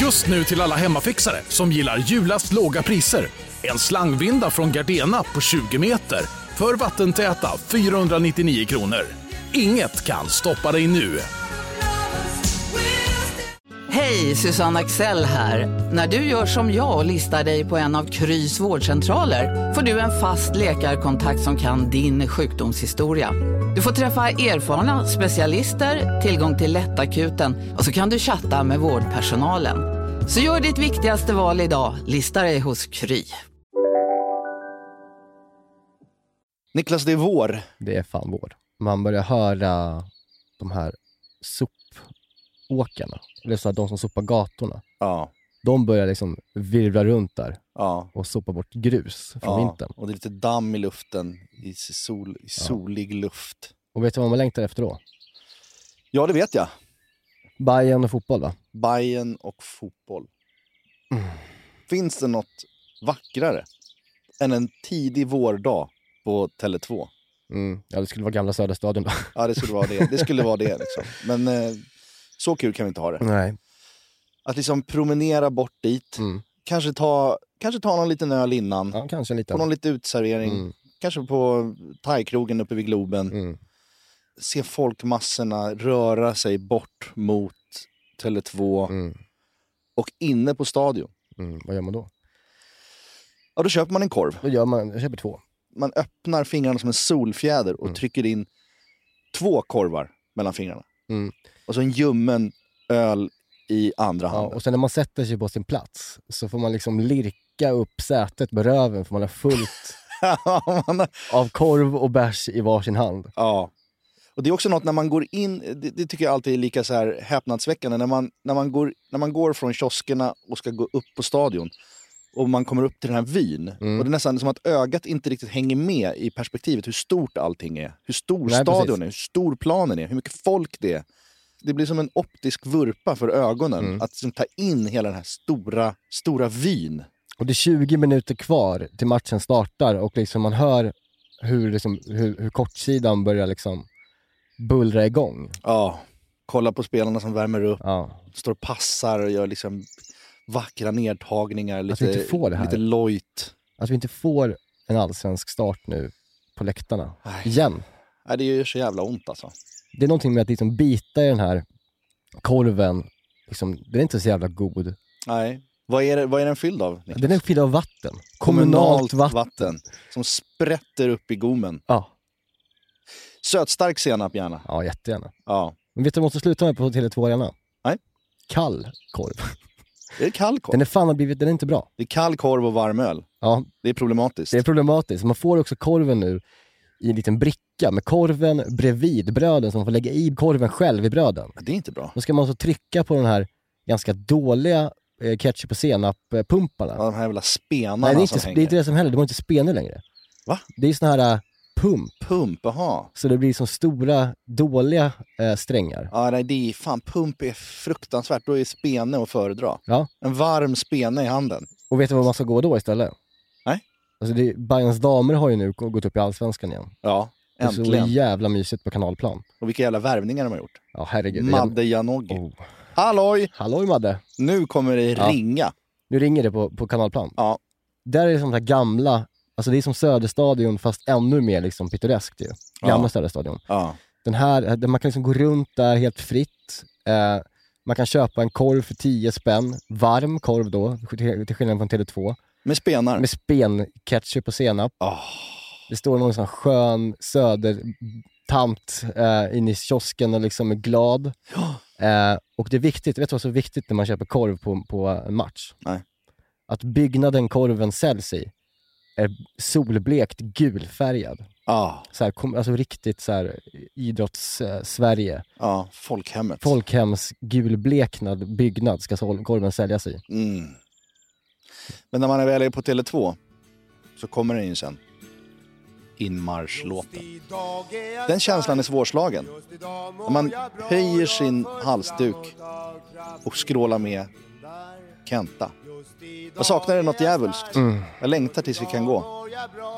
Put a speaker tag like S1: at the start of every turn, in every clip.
S1: Just nu till alla hemmafixare som gillar julast låga priser. En slangvinda från Gardena på 20 meter för vattentäta 499 kronor. Inget kan stoppa dig nu.
S2: Hej, Susanne Axel här. När du gör som jag och listar dig på en av Krys vårdcentraler får du en fast läkarkontakt som kan din sjukdomshistoria. Du får träffa erfarna specialister, tillgång till lättakuten och så kan du chatta med vårdpersonalen. Så gör ditt viktigaste val idag, listar dig hos Kry.
S3: Niklas, det är vår.
S4: Det är fan vår. Man börjar höra de här sopåkarna, eller så här, de som sopar gatorna.
S3: Ja.
S4: De börjar liksom virvla runt där
S3: Ja.
S4: och sopa bort grus från
S3: ja.
S4: vintern.
S3: Och det är lite damm i luften, i, sol, i solig luft.
S4: Och vet du vad man längtar efter då?
S3: Ja, det vet jag.
S4: Bajen och fotboll va?
S3: Bayern och fotboll.
S4: Mm.
S3: Finns det något vackrare än en tidig vårdag på Tele2?
S4: Mm. Ja, det skulle vara gamla Söderstadion då.
S3: Ja, det skulle vara det. Det skulle vara det liksom. Men eh, så kul kan vi inte ha det.
S4: Nej.
S3: Att liksom promenera bort dit,
S4: Mm.
S3: kanske, ta, kanske ta någon liten öl innan,
S4: Ja, kanske en
S3: på
S4: liten.
S3: någon liten utservering,
S4: Mm.
S3: kanske på thaikrogen uppe vid Globen.
S4: Mm.
S3: Se folkmassorna röra sig bort mot Tele2
S4: Mm.
S3: och inne på stadion.
S4: Mm. Vad gör man då?
S3: Ja, då köper man en korv.
S4: Då gör man, jag köper två.
S3: man öppnar fingrarna som en solfjäder och trycker in två korvar mellan fingrarna.
S4: Mm.
S3: Och så en ljummen öl i andra
S4: Ja,
S3: handen.
S4: och sen när man sätter sig på sin plats så får man liksom lirka upp sätet med röven för man har fullt
S3: Ja. man har-
S4: av korv och bärs i varsin hand.
S3: ja. Och det är också något när man går in, det, det tycker jag alltid är lika så här häpnadsväckande, när man, när, man går, när man går från kioskerna och ska gå upp på stadion och man kommer upp till den här vyn.
S4: Mm.
S3: Och det är nästan som att ögat inte riktigt hänger med i perspektivet hur stort allting är. Hur stor
S4: Nej,
S3: stadion
S4: precis.
S3: är, hur stor planen är, hur mycket folk det är. det blir som en optisk vurpa för ögonen
S4: Mm.
S3: att liksom ta in hela den här stora, stora vyn.
S4: Och det är 20 minuter kvar till matchen startar och liksom man hör hur, liksom, hur, hur kortsidan börjar liksom bullra igång.
S3: Ja, kolla på spelarna som värmer upp,
S4: Ja.
S3: står och passar och gör liksom vackra nedtagningar,
S4: Att vi
S3: lite,
S4: inte får det här.
S3: lite lojt.
S4: Att vi inte får en allsvensk start nu på läktarna.
S3: Nej.
S4: Igen.
S3: Nej, det gör så jävla ont alltså.
S4: Det är någonting med att liksom bita i den här korven. Liksom, den är inte så jävla god.
S3: Nej. Vad är, det, vad är den fylld av? Niklas?
S4: Den är fylld av vatten. Kommunalt vatten.
S3: Som sprätter upp i gommen.
S4: Ja.
S3: Sötstark senap gärna.
S4: ja, jättegärna.
S3: Ja.
S4: Men vet du vad man måste sluta med på Tele2 Arena?
S3: Nej.
S4: Kall korv.
S3: Det är kall korv.
S4: Den är fan har blivit, den är inte bra.
S3: Det är kall korv och varm öl.
S4: Ja,
S3: Det är problematiskt.
S4: Det är problematiskt. Man får också korven nu i en liten bricka med korven bredvid bröden, så man får lägga i korven själv i bröden.
S3: Det är inte bra.
S4: Då ska man så trycka på den här ganska dåliga eh, ketchup och senap-pumparna.
S3: Ja, de här jävla spenarna
S4: Nej, det är,
S3: som
S4: inte,
S3: hänger.
S4: det är inte det som händer. Det var inte spenig längre.
S3: Va?
S4: Det är sån här eh, pump,
S3: Pump, jaha.
S4: så det blir som stora, dåliga eh, strängar.
S3: Ja, nej, det är, fan, pump är fruktansvärt. Då är spene att föredra.
S4: Ja.
S3: En varm spene i handen.
S4: Och vet du vad man ska gå då istället?
S3: Nej.
S4: Alltså det, Bayerns damer har ju nu gå- gått upp i Allsvenskan igen.
S3: Ja,
S4: Det är så
S3: äntligen.
S4: jävla mysigt på kanalplan.
S3: Och vilka jävla värvningar de har gjort.
S4: Ja, herregud.
S3: Madde Janogy.
S4: Oh.
S3: Halloj!
S4: Halloj Madde!
S3: Nu kommer det
S4: Ja.
S3: ringa.
S4: Nu ringer det på, på kanalplan.
S3: Ja.
S4: Där är det som det här gamla, alltså det är som Söderstadion fast ännu mer liksom pittoreskt ju. Gamla
S3: Ja.
S4: Söderstadion.
S3: Ja.
S4: Den här, där man kan liksom gå runt där helt fritt. Eh, man kan köpa en korv för 10 spänn, varm korv då, till till skillnad från Tele2.
S3: Med spenar.
S4: Med spenketchup och senap.
S3: Ah.
S4: Det står någon sån här skön södertant eh, inne i kiosken och liksom är glad. Eh, och det är viktigt, vet du vad som är viktigt när man köper korv på, på en match?
S3: Nej.
S4: Att byggnaden korven säljs i är solblekt gulfärgad.
S3: Ja.
S4: Så här, kom, alltså riktigt så här idrotts-Sverige.
S3: ja, folkhemmet.
S4: Folkhems gulbleknad byggnad ska sol- korven säljas i.
S3: Mm. Men när man är väl är på Tele2 så kommer den in sen. Inmarschlåten. Den känslan är svårslagen. När man höjer sin halsduk och skrålar med Kenta. Jag saknar något djävulskt.
S4: Mm.
S3: Jag längtar tills vi kan gå.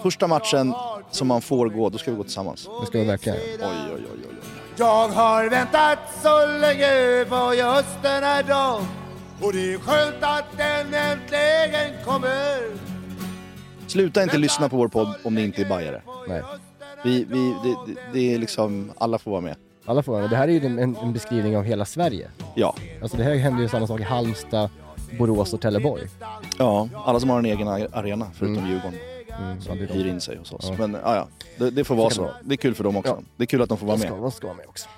S3: Första matchen som man får gå, då ska vi gå tillsammans.
S4: Det ska vi verkligen
S3: Oj, oj, oj, oj. oj.
S5: Jag har väntat så länge på just den här dagen Och det är skönt att den äntligen kommer
S3: Sluta inte lyssna på vår podd om ni inte är bajare.
S4: Nej.
S3: Vi, vi, det, det, det är liksom, alla får vara med.
S4: Alla får vara med. Det här är ju en, en en beskrivning av hela Sverige.
S3: Ja.
S4: Alltså det här händer ju samma sak i Halmstad, Borås och Trelleborg.
S3: ja, alla som har en egen ar- arena förutom Djurgården
S4: Mm, så det är de.
S3: hyr in sig hos oss. Men ja, ja. Det, det får vara så. Det är kul för dem också.
S4: Ja.
S3: Det är kul att de får vara
S4: De ska,
S3: med.
S4: de ska vara med också.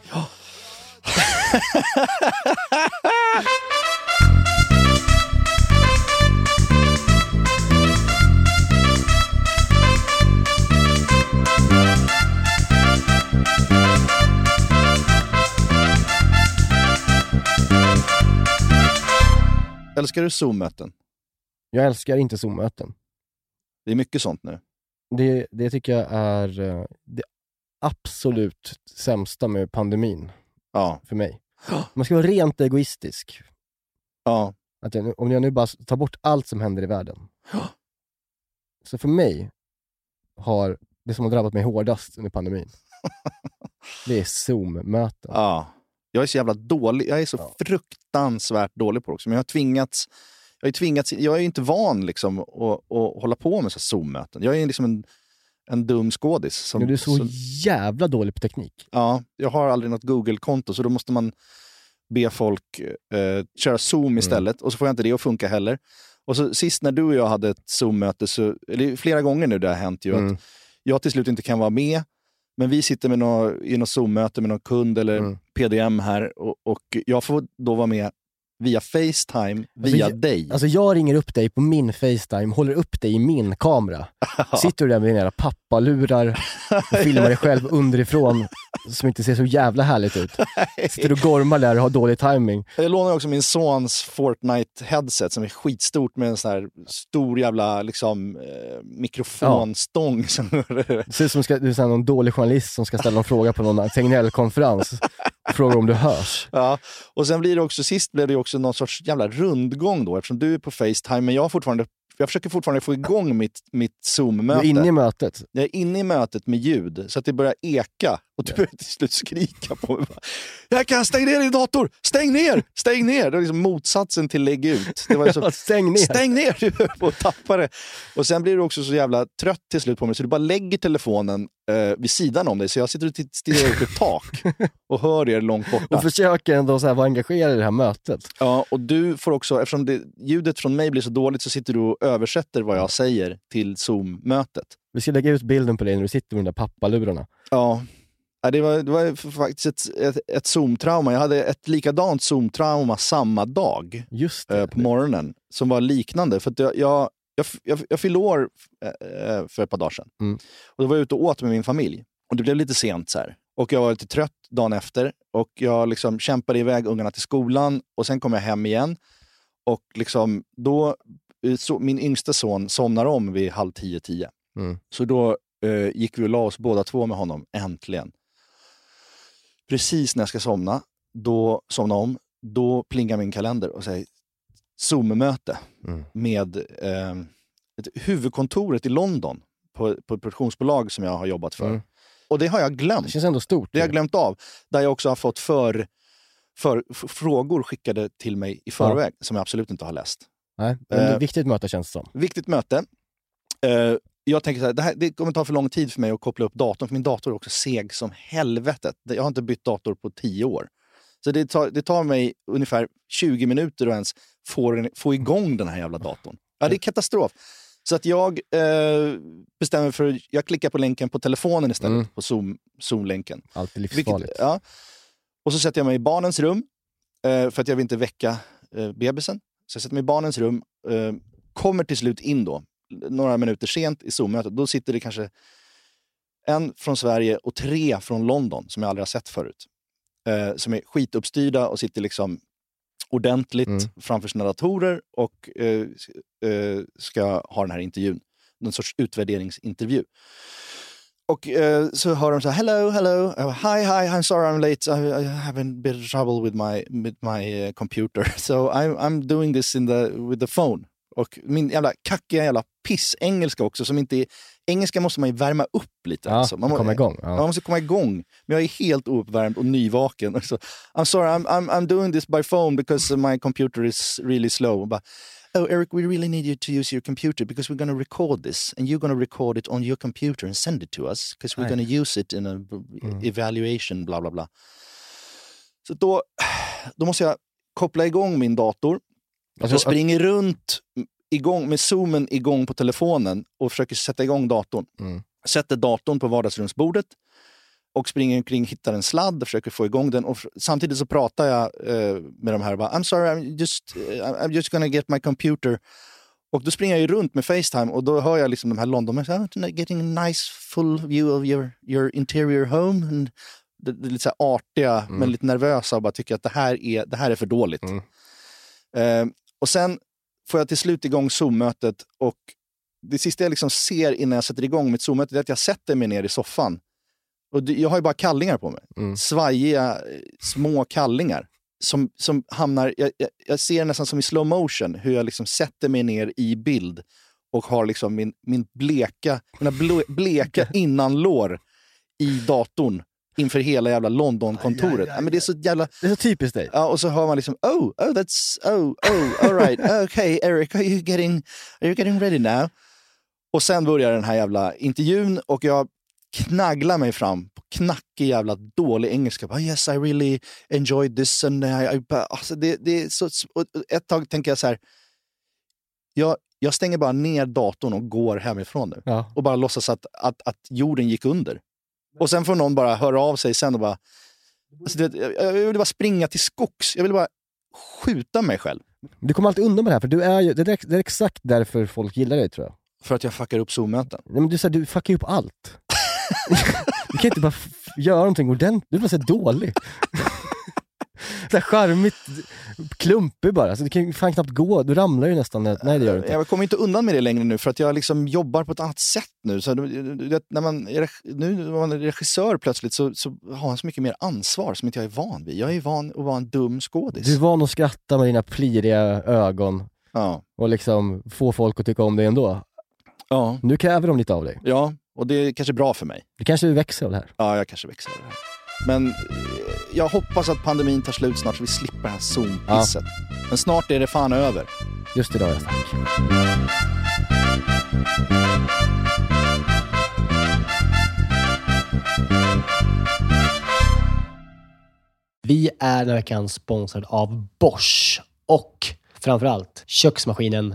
S3: Älskar du Zoom-möten?
S4: Jag älskar inte Zoom-möten.
S3: Det är mycket sånt nu.
S4: Det, det tycker jag är eh, det absolut sämsta med pandemin
S3: Ja,
S4: för mig. Man ska vara rent egoistisk.
S3: ja,
S4: Att jag, nu- om jag nu bara s- tar bort allt som händer i världen. Så för mig har det som har drabbat mig hårdast under pandemin, det är Zoom-möten.
S3: ja. Jag är så jävla dålig. Jag är så
S4: Ja.
S3: fruktansvärt dålig på det också. Men jag har tvingats. Jag är, tvingats, jag är ju inte van liksom att, att hålla på med så här Zoom-möten. Jag är liksom en, en dum skådis. Som,
S4: Men du är så
S3: som-
S4: jävla dålig på teknik.
S3: Ja, jag har aldrig något Google-konto så då måste man be folk eh, köra
S4: Mm.
S3: Zoom istället och så får jag inte det att funka heller. Och så sist när du och jag hade ett Zoom-möte, så, eller flera gånger nu det har hänt ju,
S4: Mm.
S3: att jag till slut inte kan vara med, men vi sitter med nå i något Zoom-möte med någon kund eller
S4: Mm.
S3: PDM här och, och jag får då vara med via Facetime, via
S4: jag-
S3: dig.
S4: Alltså jag ringer upp dig på min Facetime, håller upp dig i min kamera. Sitter du där med dina jävla pappalurar och filmar dig själv underifrån som inte ser så jävla härligt ut. Sitter du och gormar där och har dålig timing.
S3: Jag lånar också min sons Fortnite-headset som är skitstort med en sån här stor jävla liksom, eh, mikrofonstång. Som,
S4: Det ser ut som ska, du är sån här någon dålig journalist som ska ställa någon fråga på någon Tegnell-konferens. Frågar om du hörs.
S3: ja. Och sen blir det också, sist blev det ju också någon sorts jävla rundgång då eftersom du är på Facetime men jag, har fortfarande, jag försöker fortfarande få igång mitt, mitt
S4: Du är
S3: Zoom-möte.
S4: inne i mötet.
S3: Jag är inne i mötet med ljud så att det börjar eka och du börjar till slut skrika på mig. Bara, Jag kan stänga ner din dator! Stäng ner! Stäng ner! Det var liksom motsatsen till lägg ut. Det var ju så
S4: Alltså, Stäng ner.
S3: Stäng ner! Du höll på att tappa det. Och sen blir du också så jävla trött till slut på mig så du bara lägger telefonen eh, vid sidan om dig. Så jag sitter och titt- stirrar upp i ett tak och hör er långt borta.
S4: Och försöker ändå så här vara engagerad i det här mötet.
S3: Ja, och du får också, eftersom det, ljudet från mig blir så dåligt så sitter du och översätter vad jag säger till Zoom-mötet.
S4: Vi ska lägga ut bilden på dig när du sitter med de där pappalurarna.
S3: Ja. Ja, Det var, det var ju faktiskt ett, ett, ett Zoom-trauma. Jag hade ett likadant Zoom-trauma samma dag.
S4: Just
S3: eh,
S4: det.
S3: på morgonen som var liknande. För att jag, jag, jag, jag, jag fyllde år eh, för ett par dagar sedan.
S4: Mm.
S3: Och då var jag ute och åt med min familj. Och det blev lite sent så här. Och jag var lite trött dagen efter. Och jag liksom kämpade iväg ungarna till skolan och sen kom jag hem igen. Och liksom, då, eh, så, min yngsta son somnar om vid halv tio, tio.
S4: Mm.
S3: Så då eh, gick vi och la oss båda två med honom, äntligen. Precis när jag ska somna, då somna om, då plingar min kalender och säger Zoom-möte
S4: Mm.
S3: med eh, ett huvudkontoret i London på, på ett produktionsbolag som jag har jobbat för.
S4: Mm.
S3: Och det har jag glömt.
S4: Det känns ändå stort.
S3: Det har jag glömt av. Där jag också har fått för, för, f- frågor skickade till mig i förväg som jag absolut inte har läst.
S4: Nej, men det är
S3: Eh.
S4: ett viktigt möte känns det som.
S3: Viktigt möte. Eh, jag tänker så här, det, här, det kommer ta för lång tid för mig att koppla upp datorn, för min dator är också seg som helvetet. Jag har inte bytt dator på tio år. Så det tar, det tar mig ungefär 20 minuter att ens få, den- få igång den här jävla datorn. Ja, det är katastrof. Så att jag eh, bestämmer för jag klickar på länken på telefonen istället,
S4: Mm.
S3: på Zoom- Zoom-länken.
S4: Alltid
S3: Vilket-
S4: livsfarligt.
S3: ja. Och så sätter jag mig i barnens rum, eh, för att jag vill inte väcka eh, bebisen. Så jag sätter mig i barnens rum, eh, kommer till slut in då, några minuter sent i Zoom-mötet. Då sitter det kanske en från Sverige och tre från London, som jag aldrig har sett förut. Eh, som är skituppstyrda och sitter liksom ordentligt
S4: Mm.
S3: framför sina datorer och eh, s- eh, ska ha den här intervjun. Någon sorts utvärderingsintervju. Och eh, så hör de så här, hello, hello, Jag bara, hi, hi, I'm sorry I'm late, I, I have a bit of trouble with my, with my eh, computer. So I'm, I'm doing this in the, with the phone. Och min jävla kackiga jävla pissengelska också. Som inte är, engelska måste man ju värma upp lite.
S4: Ja,
S3: alltså. man, må-
S4: komma igång.
S3: man
S4: Ja.
S3: måste komma igång. Men jag är helt ouppvärmd och nyvaken. Och så, I'm sorry, I'm, I'm, I'm doing this by phone because my computer is really slow. Och Bara, oh Eric, we really need you to use your computer because we're going to record this. And you're going to record it on your computer and send it to us. Because we're
S4: Aj.
S3: going to use it in a b- evaluation, bla bla bla. Så då, då måste jag koppla igång min dator.
S4: Alltså,
S3: jag springer runt igång, med zoomen igång på telefonen och försöker sätta igång datorn.
S4: Mm.
S3: Sätter datorn på vardagsrumsbordet och springer omkring, hittar en sladd, försöker få igång den. Och f- samtidigt så pratar jag eh, med de här. och Bara, I'm sorry, I'm just, eh, I'm just gonna get my computer. Och då springer jag ju runt med Facetime och då hör jag liksom de här London. så här, Getting a nice full view of your, your interior home. And det, det är lite så här artiga, men lite nervösa och bara tycker att det här är, det här är för dåligt.
S4: Mm.
S3: Eh, och sen får jag till slut igång Zoom-mötet och det sista jag liksom ser innan jag sätter igång mitt Zoom-möte är att jag sätter mig ner i soffan. Och det, jag har ju bara kallingar på mig.
S4: Mm.
S3: Svajiga, eh, små kallingar. Som, som hamnar, jag, jag, jag ser nästan som i slow motion hur jag liksom sätter mig ner i bild och har liksom min, min bleka, mina ble, bleka innanlår i datorn inför hela jävla London-kontoret. Ja, men det är så jävla...
S4: det är så typiskt dig.
S3: Ja, och så hör man liksom oh, oh, that's, oh, oh, all right, okay, Eric, are you getting, are you getting ready now? Och sen börjar den här jävla intervjun och jag knagglar mig fram på knackig jävla dålig engelska. Bara, yes, I really enjoyed this. And I, I, alltså det, det är så, och ett tag tänker jag så här, jag, jag stänger bara ner datorn och går hemifrån nu
S4: Ja.
S3: och bara låtsas att, att, att jorden gick under. Och sen får någon bara höra av sig sen och bara... Alltså, du vet, jag, jag ville bara springa till skogs. Jag ville bara skjuta mig själv.
S4: Men Du kommer alltid undan med det här, för du är ju, det, är, det är exakt därför folk gillar dig tror jag.
S3: För att jag fuckar upp Zoom-möten.
S4: Nej, men du, så här, du fuckar ju upp allt. du kan inte bara f- göra någonting ordentligt, du är bara så här dålig. så här charmigt, klumpig bara. Alltså, du kan ju fan knappt gå, du ramlar ju nästan. när- Nej det gör du inte.
S3: Jag kommer inte undan med det längre nu för att jag liksom jobbar på ett annat sätt nu. Så, du- du- du vet, när man, är reg- nu när man är regissör plötsligt så, så har man så mycket mer ansvar som inte jag är van vid. Jag är van att vara en dum skådis.
S4: Du är van att skratta med dina pliriga ögon
S3: Ja.
S4: och liksom få folk att tycka om dig ändå.
S3: Ja.
S4: Nu kräver de lite av dig.
S3: ja, och det är kanske bra för mig.
S4: Du kanske växer av det här.
S3: Ja, jag kanske växer över det här. Men eh, jag hoppas att pandemin tar slut snart så vi slipper det här Zoom-pisset. Men snart är det fan över.
S4: Just idag är jag stark.
S6: Vi är den här veckan sponsrad av Bosch och framförallt köksmaskinen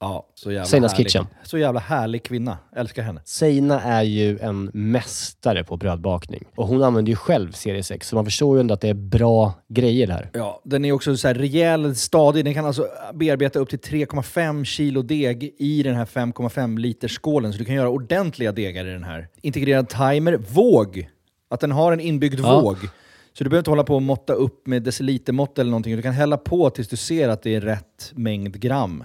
S7: Ja, så jävla
S6: Seinas
S7: härlig.
S6: Kitchen.
S7: Så jävla härlig kvinna. Älskar henne.
S6: Seina är ju en mästare på brödbakning och hon använder ju själv serie 6 så man förstår ju ändå att det är bra grejer det här.
S7: Ja, den är också så här rejäl, stadig. Den kan alltså bearbeta upp till 3,5 kilo deg i den här 5,5 liters skålen. Så du kan göra ordentliga degar i den här. Integrerad timer, våg. Att den har en inbyggd
S6: Ja.
S7: våg. Så du behöver inte hålla på och måtta upp med decilitermått eller någonting. Du kan hälla på tills du ser att det är rätt mängd gram.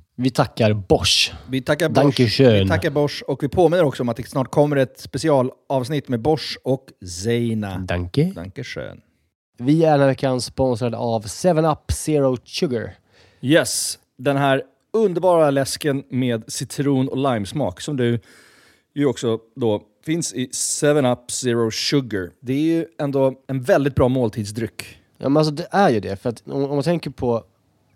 S6: Vi tackar Bosch.
S7: Vi tackar, Bosch,
S6: Dankeschön.
S7: vi tackar Bosch och vi påminner också om att det snart kommer ett specialavsnitt med Bosch och Zeina.
S6: Danke.
S7: Dankeschön.
S6: Vi är den här veckan sponsrade av 7up Zero Sugar.
S7: Yes, den här underbara läsken med citron och limesmak som du ju också då finns i 7-Up Zero Sugar. Det är ju ändå en väldigt bra måltidsdryck.
S6: Ja, men alltså det är ju det. För att om, om man tänker på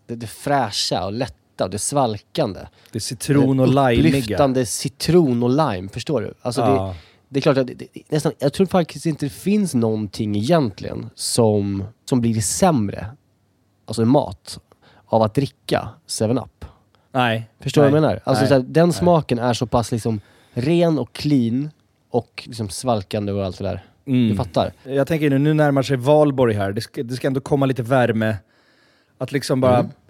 S6: det, det fräscha och lätta och det svalkande.
S7: Det är citron och
S6: Det
S7: limeiga.
S6: Upplyftande citron och lime, förstår du? Alltså
S7: Ja.
S6: det, det är klart att det, det, det- nästan, jag tror faktiskt inte det finns någonting egentligen som, som blir sämre, alltså i mat, av att dricka 7-Up.
S7: Nej.
S6: Förstår du vad
S7: nej,
S6: jag menar? Alltså
S7: nej.
S6: så här, den smaken är så pass liksom ren och clean och liksom svalkande och allt det där.
S7: Mm.
S6: Du fattar?
S7: Jag tänker nu, nu närmar sig valborg här. Det ska, det ska ändå komma lite värme. Att liksom bara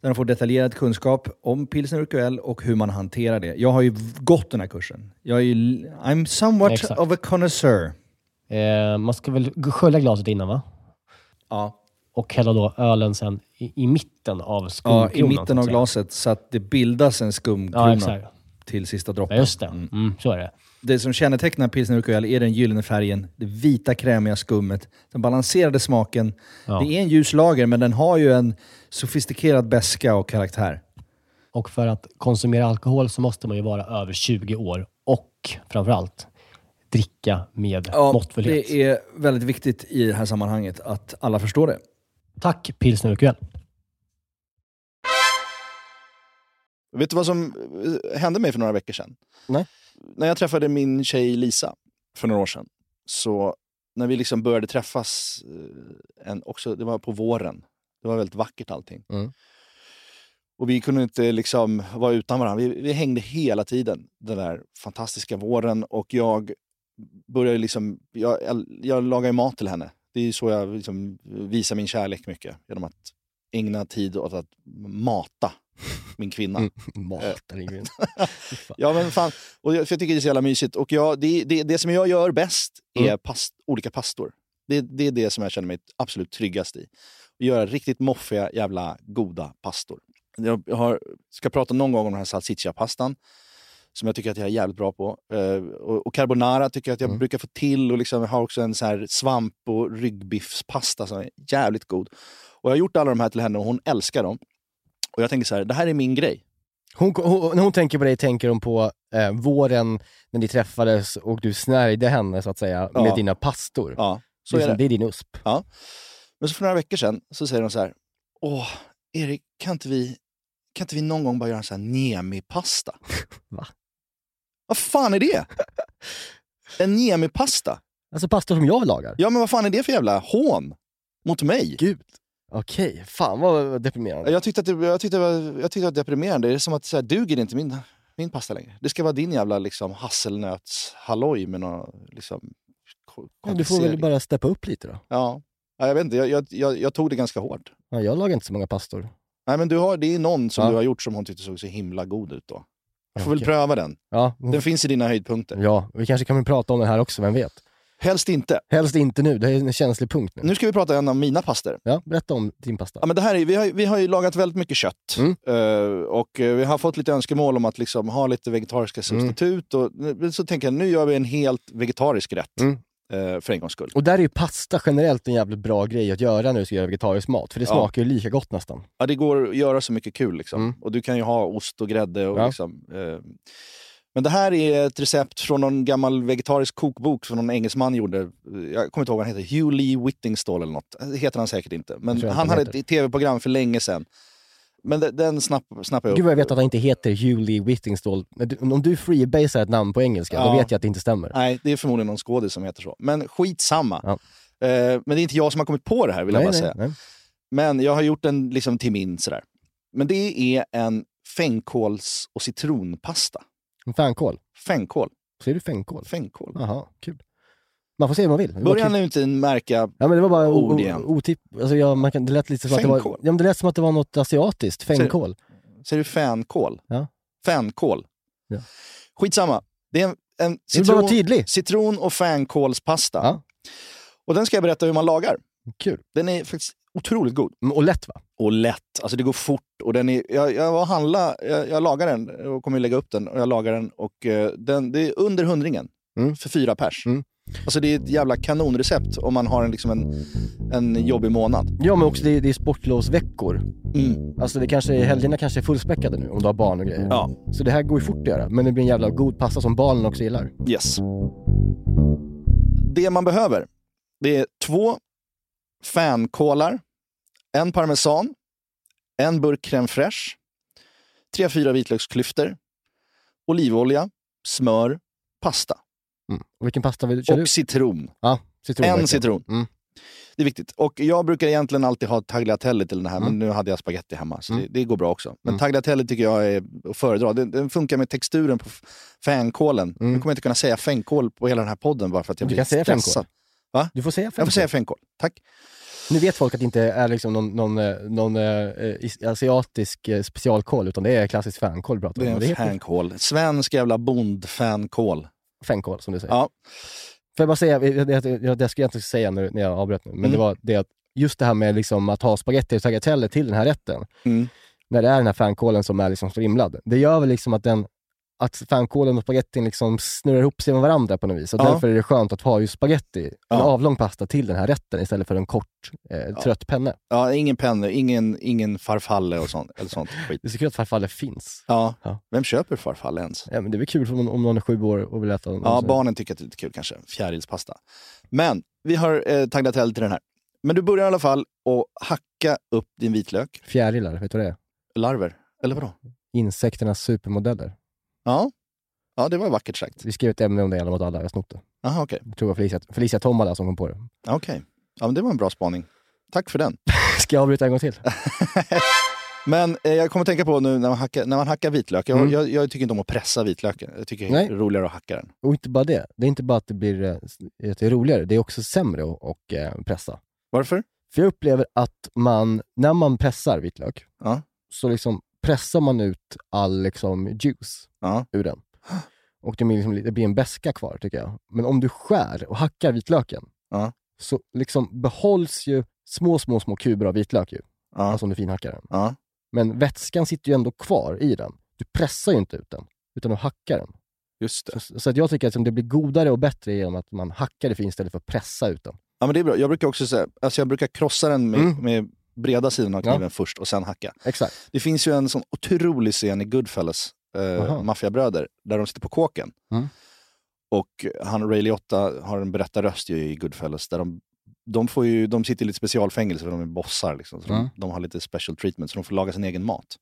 S7: Där de får detaljerad kunskap om pilsner urquell och hur man hanterar det. Jag har ju v- gått den här kursen. Jag är ju, I'm somewhat
S6: Exakt.
S7: of a connoisseur.
S6: Eh, man ska väl g- skölja glaset innan va?
S7: Ja,
S6: Och hälla då ölen sen i, i mitten av
S7: ja,
S6: skumkronan.
S7: I
S6: så
S7: mitten
S6: att
S7: av
S6: säga.
S7: glaset så att det bildas en
S6: Ja,
S7: skumkrona
S6: exakt.
S7: till sista
S6: Ja,
S7: droppen.
S6: just det. Mm, så är det.
S7: Det som kännetecknar pilsner urquell är den gyllene färgen, det vita krämiga skummet, den balanserade smaken.
S6: Ja.
S7: Det är en ljus lager, men den har ju en sofistikerad beska och karaktär.
S6: Och för att konsumera alkohol så måste man ju vara över 20 år och framförallt dricka med måttfullhet.
S7: det är väldigt viktigt i det här sammanhanget att alla förstår det.
S6: Tack Pilsner Urquell.
S3: Vet du vad som eh, hände mig för några veckor sedan?
S4: Nej.
S3: När jag träffade min tjej Lisa för några år sedan, så när vi liksom började träffas, eh, en, också, det var på våren, det var väldigt vackert allting.
S4: Mm.
S3: Och vi kunde inte liksom vara utan varandra. Vi, vi hängde hela tiden den där fantastiska våren och jag började liksom, jag, jag, jag lagar ju mat till henne. Det är ju så jag liksom visar min kärlek mycket, genom att ägna tid åt att mata min
S4: Mm.
S3: kvinna.
S4: Matar ingen.
S3: Ja, men fan. Och jag, för jag tycker det är så jävla mysigt. Och jag, det, det, det som jag gör bäst är
S4: Mm.
S3: past, olika pastor. Det, det är det som jag känner mig absolut tryggast i. Att göra riktigt moffiga, jävla goda pastor. Jag har, ska prata någon gång om den här salsiccia-pastan som jag tycker att jag är jävligt bra på. Eh, och, och carbonara tycker jag att jag
S4: Mm.
S3: brukar få till. Och liksom, jag har också en så här svamp och ryggbiffspasta som är jävligt god. Och jag har gjort alla de här till henne och hon älskar dem. Och jag tänker så här, det här är min grej.
S4: Hon, hon, när hon tänker på dig tänker hon på eh, våren när ni träffades och du snärjde henne så att säga
S3: Ja.
S4: med dina pastor.
S3: Ja, så
S4: det, är
S3: är det.
S4: som- det är din USP.
S3: Men så för några veckor sedan så säger de så här, åh, Erik, kan inte vi, kan inte vi någon gång bara göra en sån här Niemi-pasta?
S4: Va?
S3: Vad fan är det? En Niemi-pasta?
S4: Alltså pastor som jag lagar.
S3: Ja, men vad fan är det för jävla hån mot mig?
S4: Gud. Okej, fan vad deprimerande.
S3: Jag tyckte att det, jag tyckte det, var, jag tyckte det var deprimerande. Det är som att så här, duger inte min, min pasta längre. Det ska vara din jävla liksom, hasselnötshalloj med någon liksom, ko-
S4: Ja, du får väl
S3: kompensering.
S4: bara steppa upp lite då.
S3: Ja. ja, jag vet inte. Jag, jag, jag, jag tog det ganska hårt.
S4: Ja, jag lagar inte så många pastor.
S3: Nej, men du har, det är någon som
S4: Ja.
S3: du har gjort som hon tyckte såg så himla god ut då. Jag får
S4: Ja,
S3: väl
S4: okej. Mm.
S3: pröva den.
S4: Ja, mm.
S3: Den finns i dina höjdpunkter.
S4: ja, vi kanske kan prata om den här också, vem vet?
S3: Helst inte.
S4: Helst inte nu, det här är en känslig punkt nu.
S3: Nu ska vi prata en av mina pastor.
S4: Ja, berätta om din pasta.
S3: Ja, men det här är, vi, har, vi har ju lagat väldigt mycket kött
S4: Mm.
S3: Eh, och eh, vi har fått lite önskemål om att liksom ha lite vegetariska
S4: Mm.
S3: substitut. Och, men så tänker jag, nu gör vi en helt vegetarisk rätt
S4: Mm.
S3: eh, för en gångs skull.
S4: Och där är ju pasta generellt en jävligt bra grej att göra när du ska göra vegetarisk mat, för det
S3: Ja.
S4: smakar ju lika gott nästan.
S3: Ja, det går att göra så mycket kul. Liksom.
S4: Mm.
S3: Och Du kan ju ha ost och grädde. Och
S4: Ja.
S3: liksom, eh, men det här är ett recept från någon gammal vegetarisk kokbok som någon engelsman gjorde. Eh, Jag kommer inte ihåg vad han heter. Hugh Lee Whittingstall eller något. Det heter han säkert inte.
S4: Jag
S3: Men
S4: tror
S3: han,
S4: inte han
S3: hade
S4: heter.
S3: ett tv-program för länge sedan. Men de- den snapp, snappade jag upp.
S4: Gud vad jag vet att han inte heter Hugh Lee Whittingstall. Men du- Om du freebasar ett namn på engelska, då
S3: Ja.
S4: vet jag att det inte stämmer.
S3: Nej, det är förmodligen någon skådis som heter så. Men skitsamma.
S4: Ja.
S3: Eh, men det är inte jag som har kommit på det här vill jag bara säga.
S4: nej.
S3: Men jag har gjort den liksom till min sådär. Men det är en fänkåls och citronpasta.
S4: En Fänkål.
S3: Fänkål.
S4: Ser du fänkål?
S3: Fänkål.
S4: Jaha, kul. Man får se hur man vill. Det var
S3: Börjar
S4: kul.
S3: nu inte märka...
S4: Ja, men det var bara o-
S3: ord
S4: o-
S3: igen.
S4: otipp... Alltså jag, man kan, det lät lite som att det var...
S3: Fänkål.
S4: Ja, men det lät som att det var något asiatiskt. Fänkål.
S3: Säger du fänkål?
S4: Ja.
S3: Fänkål.
S4: Ja.
S3: Skitsamma. Det är en, en
S4: Du vill bara vara
S3: citron,
S4: tydlig.
S3: citron och fänkålspasta.
S4: Ja.
S3: Och den ska jag berätta hur man lagar.
S4: Kul.
S3: Den är faktiskt otroligt god.
S4: Mm, Och lätt va?
S3: och lätt. Alltså det går fort. Och den är, jag, jag var och handla, jag, jag lagar den och kommer ju lägga upp den. Och jag lagar den och eh, den, det är under hundringen
S4: Mm.
S3: för fyra pers.
S4: Mm.
S3: Alltså det är ett jävla kanonrecept om man har en, liksom en, en jobbig månad.
S4: Ja, men också det, är- det är sportlovsveckor.
S3: Mm.
S4: Alltså det kanske, är- helgerna kanske är fullspäckade nu om du har barn och grejer.
S3: Ja,
S4: Så det här går ju fort att göra, men det blir en jävla god pasta som barnen också gillar.
S3: yes. Det man behöver, det är två fänkålar, en parmesan, en burk crème fraîche, tre, fyra vitlöksklyftor, olivolja, smör, pasta
S4: Mm. Och vilken pasta vill du köra
S3: och
S4: ut?
S3: citron.
S4: Ja, citron. verkligen.
S3: En citron.
S4: Mm.
S3: Det är viktigt. Och jag brukar egentligen alltid ha tagliatelle till den här, men
S4: Mm.
S3: nu hade jag spagetti hemma. Så
S4: Mm.
S3: det, det går bra också. Men
S4: Mm.
S3: tagliatelle tycker jag är att föredra. Den, den funkar med texturen på f- fänkålen. Nu kommer jag inte kunna säga fänkål på hela den här podden bara för att jag
S4: Mm. Du
S3: blir
S4: kan säga
S3: stressad.
S4: fänkål. Du får säga fem.
S3: Jag får säga fänkål. Tack.
S4: Nu vet folk att det inte är liksom någon, någon, eh, någon eh, is- asiatisk eh, specialkål, utan det är klassisk fänkål vi pratar
S3: Det
S4: om.
S3: är
S4: Det
S3: en
S4: heter
S3: fänkål. Svensk jävla bondfänkål.
S4: fänkål som du säger.
S3: Ja.
S4: Får jag bara säga, jag, jag, jag, det skulle jag inte säga när, när jag avbröt nu, men det
S3: Mm.
S4: var det att just det här med liksom att ha spagetti och tagliatelle till den här rätten,
S3: Mm.
S4: när det är den här fänkålen som är liksom strimlad, det gör väl liksom att den att fänkålen och spagettin liksom snurrar ihop sig med varandra på något vis. Och
S3: Ja.
S4: Därför är det skönt att ha just spagetti, en
S3: Ja.
S4: avlång pasta, till den här rätten istället för en kort, eh, trött penne.
S3: Ja, ingen penne, ingen, ingen farfalle och sånt, eller sånt skit.
S4: Det är så kul att farfalle finns.
S3: Ja.
S4: Ja.
S3: Vem köper farfalle ens?
S4: Ja, men det är väl kul för om, om någon är sju år och vill äta någon
S3: Ja,
S4: sån-
S3: barnen tycker att det är lite kul kanske. Fjärilspasta. Men vi har eh, tagliatelle till den här. Men du börjar i alla fall att hacka upp din vitlök.
S4: Fjärilar, vet du vad det är?
S3: Larver. Eller vadå?
S4: Insekternas supermodeller.
S3: Ja. Ja, det var vackert sagt.
S4: Vi skrev ett ämne om det, eller mot alla, jag snott det.
S3: Jaha, okej.
S4: Jag tror det var Felicia, Felicia Tomala som kom på det.
S3: Ja, okej. Ja, men det var en bra spaning. Tack för den.
S4: Ska jag avbryta en gång till?
S3: Men eh, jag kommer att tänka på nu när man hackar, när man hackar vitlök. Jag,
S4: Mm.
S3: jag, jag tycker inte om att pressa vitlöken. Jag tycker det är
S4: Nej.
S3: roligare att hacka den.
S4: Och inte bara det. Det är inte bara att det blir eh, att det är roligare, det är också sämre att och, eh, pressa.
S3: Varför?
S4: För jag upplever att man, när man pressar vitlök,
S3: Ja.
S4: så liksom pressar man ut all liksom, juice
S3: Ja.
S4: ur den. Och det blir, liksom, det blir en beska kvar tycker jag. Men om du skär och hackar vitlöken,
S3: Ja.
S4: så liksom behålls ju små, små, små kuber av vitlök ju.
S3: Ja.
S4: Alltså om du finhackar den.
S3: Ja.
S4: Men vätskan sitter ju ändå kvar i den. Du pressar ju inte ut den, utan du hackar den.
S3: Just det.
S4: Så, så att jag tycker att liksom, det blir godare och bättre genom att man hackar det fint istället för att pressa ut den.
S3: Ja, men det är bra. Jag brukar också säga, alltså jag brukar krossa den med,
S4: Mm.
S3: med breda sidan av
S4: Ja.
S3: kniven först och sen hacka.
S4: Exakt.
S3: Det finns ju en sån otrolig scen i Goodfellas, eh,
S4: Aha.
S3: Maffiabröder, där de sitter på kåken.
S4: Mm.
S3: Och han, Ray Liotta har en berättarröst ju i Goodfellas. Där de, de, får ju, de sitter i lite specialfängelse för de är bossar. Liksom, så
S4: Mm.
S3: de, de har lite special treatment, så de får laga sin egen mat.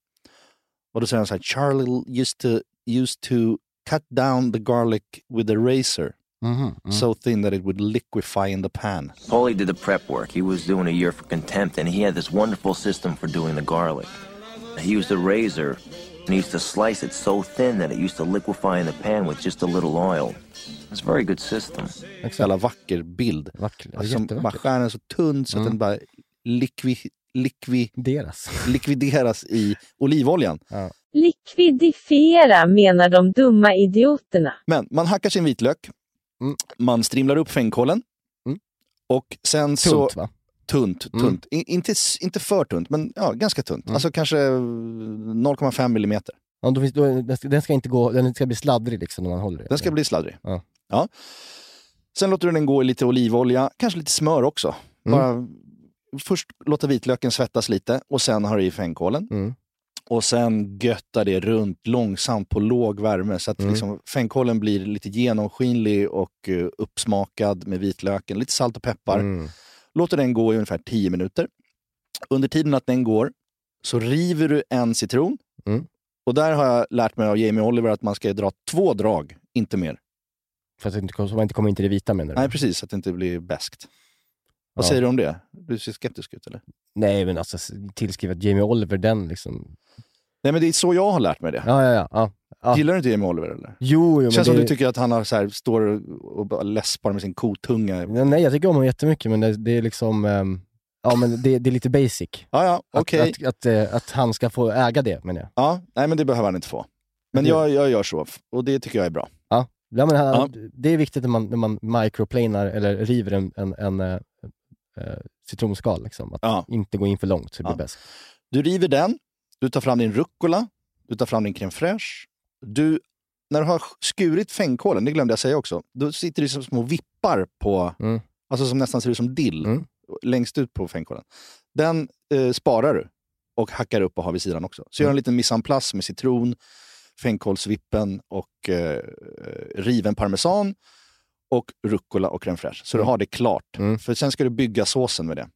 S3: Och då säger han så här, Charlie used to, used to cut down the garlic with a razor.
S4: Mhm, mm.
S3: so thin that it would liquefy in the pan.
S8: Paulie did the prep work. He was doing a year for contempt, and he had this wonderful system for doing the garlic. He used a razor, and he used to slice it so thin that it used to liquefy in the pan with just a little oil. It's a very good system.
S3: Så jävla vacker bild.
S4: Vackert.
S3: Alltså, som bara
S4: Jättevackert.
S3: skär den så tunn så att den bara likvi, likvi,
S4: Deras.
S3: likvideras i olivoljan.
S9: Likvidifiera menar de dumma idioterna.
S3: Men man hackar sin vitlök,
S4: Mm.
S3: man strimlar upp fänkålen
S4: Mm.
S3: och sen så...
S4: Tunt va?
S3: Tunt,
S4: Mm.
S3: tunt. I, inte, s- inte för tunt, men ja, ganska tunt.
S4: Mm.
S3: Alltså kanske eh, 0,5 millimeter.
S4: Ja, då finns, då, den, ska, den ska inte gå, den ska bli sladdrig liksom när man håller i
S3: Den ska bli sladdrig.
S4: Ja.
S3: Ja. Sen låter du den gå i lite olivolja, kanske lite smör också.
S4: Mm.
S3: Bara, först låta vitlöken svettas lite och sen har du i fänkålen.
S4: Mm.
S3: Och sen göttar det runt långsamt på låg värme så
S4: Mm.
S3: att liksom, fänkålen blir lite genomskinlig och eh, uppsmakad med vitlöken. Lite salt och peppar.
S4: Mm.
S3: Låter den gå i ungefär 10 minuter. Under tiden att den går så river du en citron.
S4: Mm.
S3: Och där har jag lärt mig av Jamie Oliver att man ska dra två drag, inte mer.
S4: För att det inte, kom- så man inte kommer in till det vita menar du?
S3: Nej, precis. Så att det inte blir bäst. Vad
S4: Ja.
S3: säger du om det? Du ser skeptisk ut, eller?
S4: Nej men alltså s- tillskrivet Jamie Oliver den liksom.
S3: Nej, men det är så jag har lärt mig det.
S4: Ja, ja, ja. ja. ja.
S3: Gillar du inte Jamie Oliver, eller?
S4: Jo, jo men
S3: känns som
S4: det...
S3: du tycker att han har så här, står och bara läspar med sin kotunga.
S4: Nej, Nej jag tycker om honom jättemycket men det, det är liksom, ehm, ja men det, det är lite basic.
S3: Ja, ja,
S4: Att,
S3: okej.
S4: att, att, eh, att han ska få äga det menar jag.
S3: Ja, nej, men det behöver han inte få. Men
S4: Det-
S3: jag, jag gör så, och det tycker jag är bra.
S4: Ja, men han,
S3: Ja.
S4: Det är viktigt när man, när man microplanar eller river en, en, en eh, eh, citronskal. Liksom. Att
S3: Ja.
S4: inte gå in för långt så det blir
S3: Ja.
S4: bäst.
S3: Du river den, du tar fram din rucola, du tar fram din crème fraîche. Du, när du har skurit fänkålen, det glömde jag säga också, då sitter det som små vippar på,
S4: Mm.
S3: alltså som nästan ser ut som dill,
S4: Mm.
S3: längst ut på fänkålen. Den eh, sparar du och hackar upp och har vid sidan också. Så
S4: Mm.
S3: gör en liten mise en place med citron, fänkålsvippen och eh, riven parmesan och rucola och crème fraîche. Så du har det klart.
S4: Mm.
S3: För sen ska du bygga såsen med det.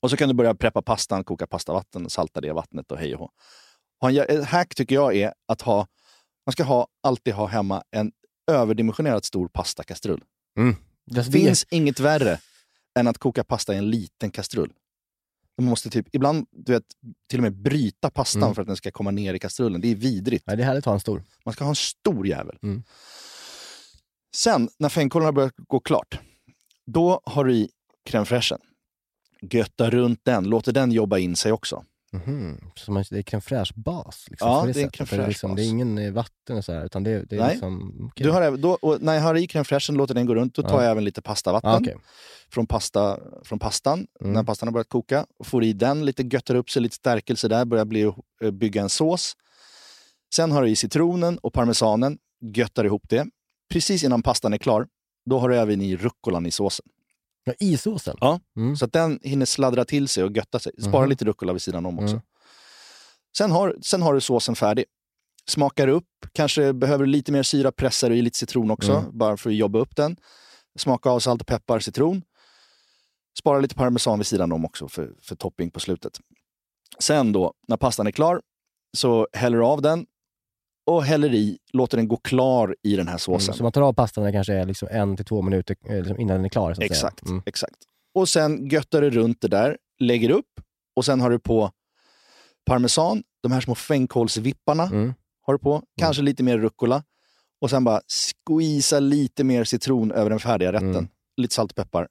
S3: Och så kan du börja preppa pastan, koka pastavatten, salta det vattnet och hej och hå. Ha en jä- Ett hack tycker jag är att ha, man ska ha, alltid ha hemma en överdimensionerat stor pastakastrull.
S4: Alltså,
S3: Det
S4: det-
S3: finns inget värre än att koka pasta i en liten kastrull. Man måste typ, ibland du vet, till och med bryta pastan
S4: Mm.
S3: för att den ska komma ner i kastrullen. Det är vidrigt.
S4: Ja, det är härligt att ha en stor.
S3: Man ska ha en stor jävel.
S4: Mm.
S3: Sen, när fänkålen har börjat gå klart, då har du i crème fraîchen. Götta runt den, låter den jobba in sig också.
S4: Mhm. Så man, det är crème fraîche bas. Liksom,
S3: Ja,
S4: på
S3: det är en
S4: sättet.
S3: crème fraîche
S4: liksom,
S3: bas.
S4: det är ingen eh, vatten och så här, utan det, det är
S3: Nej.
S4: liksom... okej.
S3: Du har, även- då, och när jag har i crème fraîchen, låter den gå runt, då tar
S4: Ja.
S3: jag även lite pastavatten
S4: ah, okej.
S3: från, pasta, från pastan,
S4: Mm.
S3: när pastan har börjat koka. Och får i den, lite göttar upp sig, lite stärkelse där, börjar bli, eh, bygga en sås. Sen har du i citronen och parmesanen, göttar ihop det. Precis innan pastan är klar, då har du även i rucolan i såsen.
S4: ja, I såsen?
S3: Ja.
S4: Mm.
S3: Så att den hinner sladdra till sig och götta sig. Spara
S4: Mhm.
S3: lite rucola vid sidan om också.
S4: Mm.
S3: Sen, har, sen har du såsen färdig. Smakar upp, kanske behöver du lite mer syra, pressar du i lite citron också,
S4: Mm.
S3: bara för att jobba upp den. Smaka av salt och peppar, citron. Spara lite parmesan vid sidan om också för, för topping på slutet. Sen då, när pastan är klar, så häller du av den och häller i, låter den gå klar i den här såsen.
S4: Mm. Så man tar av pastan när det kanske är liksom en till två minuter eh, liksom innan den är klar. Så att
S3: Exakt,
S4: Säga. Mm.
S3: exakt. Och sen göttar du runt det där, lägger upp och sen har du på parmesan, de här små fänkålsvipparna
S4: Mm.
S3: har du på, kanske lite mer rucola och sen bara squeeza lite mer citron över den färdiga rätten.
S4: Mm.
S3: Lite salt och peppar.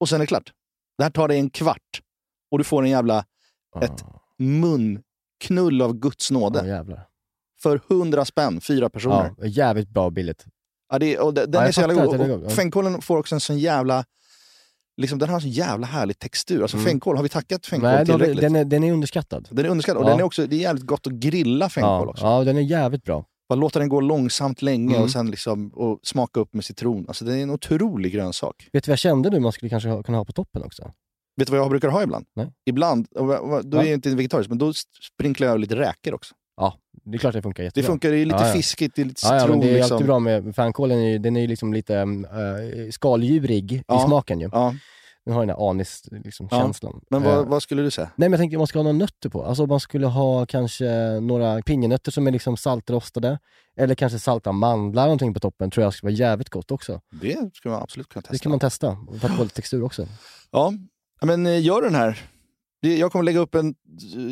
S3: Och sen är det klart. Det här tar dig en kvart och du får en jävla Ett
S4: Ah,
S3: munknull av guds nåde.
S4: ah, jävlar.
S3: För hundra spänn, fyra personer.
S4: Ja, jävligt bra och billigt.
S3: Ja, det, och de- den
S4: jag
S3: är så jävla
S4: fattar att
S3: god.
S4: den är
S3: Och
S4: god, ja.
S3: Fänkålen får också en sån jävla... Liksom, den har en sån jävla härlig textur. Alltså
S4: Mm.
S3: fänkål, har vi tackat fänkål
S4: Nej, den,
S3: tillräckligt? Den
S4: den,
S3: är,
S4: är, den är underskattad.
S3: underskattad. Och
S4: Ja.
S3: den är också, det är jävligt gott att grilla fänkål
S4: ja,
S3: också.
S4: ja, den är jävligt bra.
S3: Bara låta den gå långsamt länge
S4: Mm.
S3: och sen liksom, och smaka upp med citron. Alltså, det är en otrolig grönsak.
S4: Vet du vad jag kände nu man skulle kanske ha, kunna ha på toppen också?
S3: Vet du vad jag brukar ha ibland?
S4: Nej.
S3: Ibland, och va- va- då är
S4: Va?
S3: jag inte vegetariskt, men då sprinklar jag över lite räkor också.
S4: Det är klart det funkar
S3: Det
S4: jättebra.
S3: funkar, det är lite
S4: Ja, ja.
S3: fiskigt, det är lite
S4: Ja,
S3: citron.
S4: ja, men det är
S3: liksom.
S4: alltid bra med fänkålen, är ju- den är ju liksom lite um, eh, mm, skaldjurig
S3: Ja.
S4: i smaken ju.
S3: Ja.
S4: Den har den här aniskänslan. Liksom,
S3: Ja,
S4: känslan.
S3: Men
S4: Eh,
S3: vad, vad skulle du säga?
S4: Nej men jag tänkte man ska ha några nötter på. Alltså man skulle ha kanske några pinjenötter som är liksom saltrostade. Eller kanske salta mandlar eller någonting på toppen. tror jag skulle vara jävligt gott också.
S3: Det skulle man absolut kunna testa.
S4: Det kan man testa för att få lite textur också.
S3: Ja, Ja, men eh, gör den här. Det- Jag kommer lägga upp en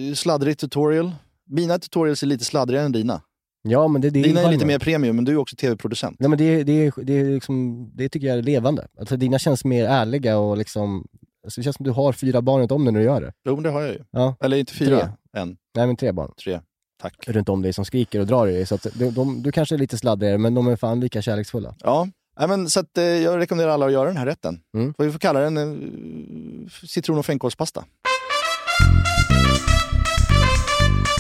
S3: eh, sladdrig tutorial. Mina tutorials är lite sladdrigare än dina.
S4: Ja men det, det
S3: Dina är
S4: varmt.
S3: lite mer premium, men du är också tv-producent.
S4: Nej men det, det, det, är liksom, det tycker jag är levande. Alltså dina känns mer ärliga och liksom... Alltså, det känns som du har fyra barn runt om dig när du gör det.
S3: Jo, men det har jag ju.
S4: Ja.
S3: Eller inte fyra
S4: Tre.
S3: än.
S4: Nej men tre barn
S3: Tre. Tack.
S4: runt om dig som skriker och drar i dig. Så att de, de, du kanske är lite sladdrigare men de är fan lika kärleksfulla.
S3: Ja. Nej, men, så att, eh, jag rekommenderar alla att göra den här rätten.
S4: Mm.
S3: Och Vi får kalla den eh, citron och fänkålspasta.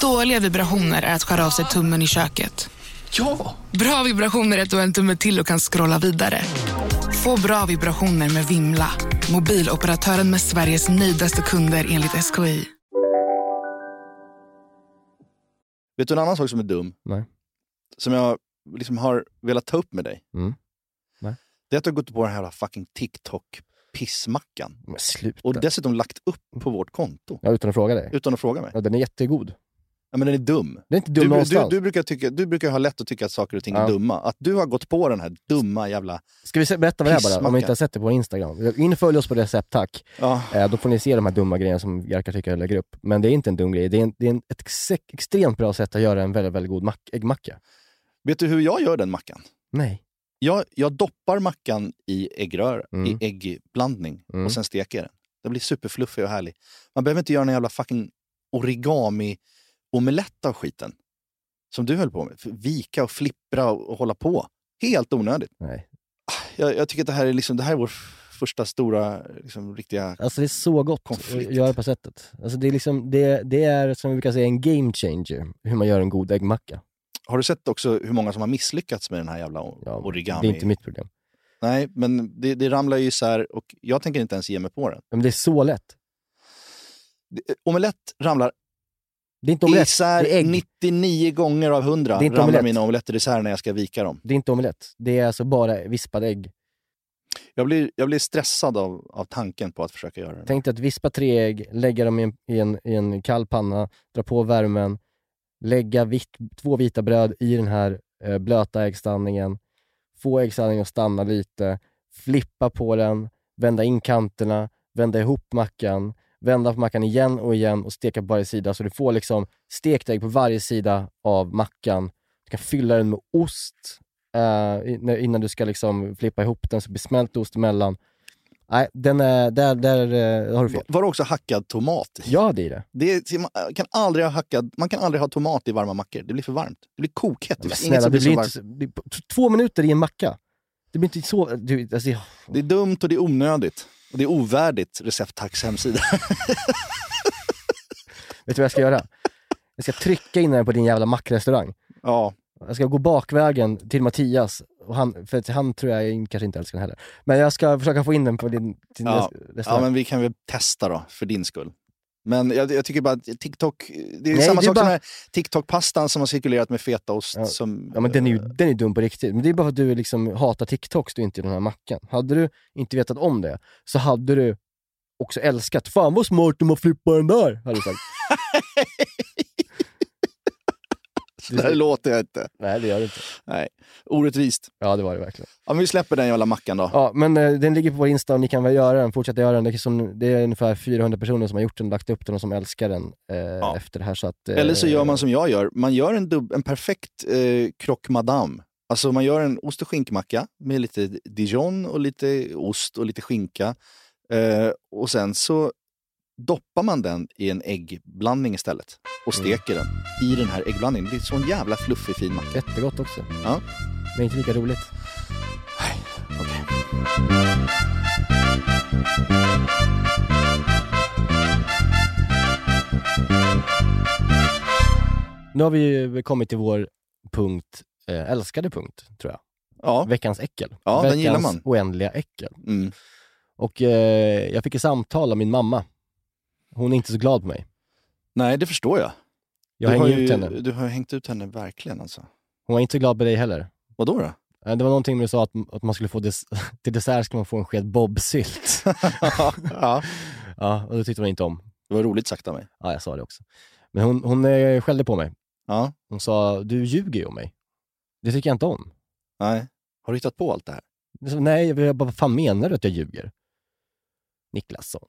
S10: Dåliga vibrationer är att skära av sig tummen i köket.
S1: Ja!
S10: Bra vibrationer är att du har en tumme till och kan scrolla vidare. Få bra vibrationer med Vimla. Mobiloperatören med Sveriges nöjdaste kunder enligt SKI.
S3: Vet du en annan sak som är dum?
S4: Nej.
S3: Som jag liksom har velat ta upp med dig?
S4: Mm. Nej.
S3: Det är att du har gått på den här fucking TikTok-pissmackan.
S4: Men sluta.
S3: Och dessutom lagt upp på vårt konto.
S4: Ja, utan att fråga dig.
S3: Utan att fråga mig.
S4: Ja, den är jättegod.
S3: Ja, men den är dum.
S4: Den är inte dum
S3: Du, du,
S4: någonstans.
S3: du, brukar tycka, du brukar ha lätt att tycka att saker och ting är
S4: Ja.
S3: dumma. Att du har gått på den här dumma jävla...
S4: Ska vi se- berätta vad det är bara, om
S3: Pissmacka.
S4: ni inte har sett det på Instagram? In och följ oss på recept, tack.
S3: Ja,
S4: Eh, då får ni se de här dumma grejerna som Jerka tycker jag lägger upp. Men det är inte en dum grej. Det är, en, det är en, ett ex- extremt bra sätt att göra en väldigt, väldigt god mack, äggmacka.
S3: vet du hur jag gör den mackan?
S4: Nej.
S3: Jag, jag doppar mackan i äggrör,
S4: Mm.
S3: i äggblandning
S4: Mm.
S3: och sen steker jag den. Den blir superfluffig och härlig. Man behöver inte göra en jävla fucking origami-omelett av skiten. Som du höll på med. Vika och flippra och, och hålla på. Helt onödigt.
S4: Nej.
S3: Jag, jag tycker att det här är, liksom, det här är vår f- första stora, liksom, riktiga...
S4: Alltså det är så gott
S3: Konflikt.
S4: att göra på sättet. Alltså det är liksom, det, det är som vi brukar säga en game changer, hur man gör en god äggmacka.
S3: Har du sett också hur många som har misslyckats med den här jävla o-
S4: Ja,
S3: origami?
S4: Det är inte mitt problem.
S3: Nej, men det, det ramlar ju isär och jag tänker inte ens ge mig på den.
S4: Men det är så lätt.
S3: Det- eh, Omelett ramlar
S4: Det är inte omelett,
S3: isär
S4: det är ägg.
S3: 99 gånger av 100
S4: Det är inte
S3: ramlar
S4: omelett.
S3: mina omeletter isär när jag ska vika dem.
S4: Det är inte omelett. Det är alltså bara vispade ägg.
S3: Jag blir, jag blir stressad av, av tanken på att försöka göra det.
S4: Tänk dig att vispa tre ägg, lägga dem i en, i en, i en kall panna, dra på värmen, lägga vitt, två vita bröd i den här eh, blöta äggstanningen, få äggstanningen att stanna lite, flippa på den, vända in kanterna, vända ihop mackan, vända på mackan igen och igen och steka på varje sida. Så du får liksom stekt ägg på varje sida av mackan. Du kan fylla den med ost eh, in- innan du ska liksom flippa ihop den, så blir smält ost emellan. Nej, den är, där, där eh, har du fel.
S3: Var det också hackad tomat i?
S4: Ja, det är det.
S3: Det är, man, eh, kan aldrig ha hackad, man kan aldrig ha tomat i varma mackor. Det blir för varmt. Det blir kokhett.
S4: Men
S3: Det, finns inget
S4: snälla,
S3: som
S4: det
S3: blir
S4: blir
S3: så
S4: inte,
S3: varmt.
S4: så- det, är på- t- två minuter i en macka. Det blir inte så... Du, alltså, jag-
S3: det är dumt och det är onödigt. Och det är ovärdigt Recept Tax hemsida.
S4: vet du vad jag ska göra? Jag ska trycka in den på din jävla mackrestaurang.
S3: ja,
S4: Jag ska gå bakvägen till Mattias, och han, för att han tror jag in- kanske inte älskar den heller. Men jag ska försöka få in den på din, din
S3: Ja.
S4: res-
S3: ja,
S4: restaurang.
S3: men vi kan väl testa då, för din skull. Men jag, jag tycker bara att TikTok, det är
S4: Nej,
S3: samma
S4: det är
S3: sak som
S4: bara-
S3: den här TikTok-pastan som har cirkulerat med fetaost.
S4: Ja.
S3: Som,
S4: Ja men den är ju den är dum på riktigt. Men det är bara för att du liksom hatar TikToks du inte i den här mackan. Hade du inte vetat om det så hade du också älskat. Fan vad smart de har flippat den där, hade du sagt.
S3: Så där låter jag inte.
S4: Nej, det gör det inte.
S3: Nej. Orättvist.
S4: Ja, det var det verkligen.
S3: Ja, men vi släpper den jävla mackan då.
S4: Ja, men eh, den ligger på vår Insta och ni kan väl göra den, fortsätta göra den. Det är, som, det är ungefär 400 personer som har gjort den, lagt upp den och som älskar den eh, efter det här. Så att, eh,
S3: Eller så gör man som jag gör. Man gör en, dubb, en perfekt eh, croque madame. Alltså man gör en ost och skinkmacka med lite dijon och lite ost och lite skinka. Eh, och sen så doppar man den i en äggblandning istället och
S4: Mm.
S3: steker den i den här äggblandningen. Det är så en jävla fluffig fin macka.
S4: Jättegott också.
S3: Ja.
S4: Men inte lika roligt. Nu har vi ju kommit till vår punkt, eh, älskade punkt, tror jag.
S3: Ja.
S4: Veckans äckel.
S3: Ja, den
S4: Veckans
S3: gillar man.
S4: oändliga äckel.
S3: Mm.
S4: Och eh, jag fick ett samtal av min mamma. Hon är inte så glad på mig.
S3: Nej, det förstår jag.
S4: Jag
S3: du
S4: hänger
S3: har ju,
S4: ut henne.
S3: Du har ju hängt ut henne verkligen alltså.
S4: Hon var inte så glad på dig heller.
S3: Vadå då?
S4: Eh, Det var någonting du sa att, att man skulle få des- till dessert ska man få en sked bobsylt.
S3: ja.
S4: ja, och det tyckte hon inte om.
S3: Det var roligt sagt av mig.
S4: Ja, jag sa det också. Men hon, hon eh, skällde på mig.
S3: Ja.
S4: Hon sa, du ljuger ju om mig. Det tycker jag inte om.
S3: Nej. Har du hittat på allt det här?
S4: Jag sa, Nej, jag bara, vad fan menar du att jag ljuger? Niklas sa hon.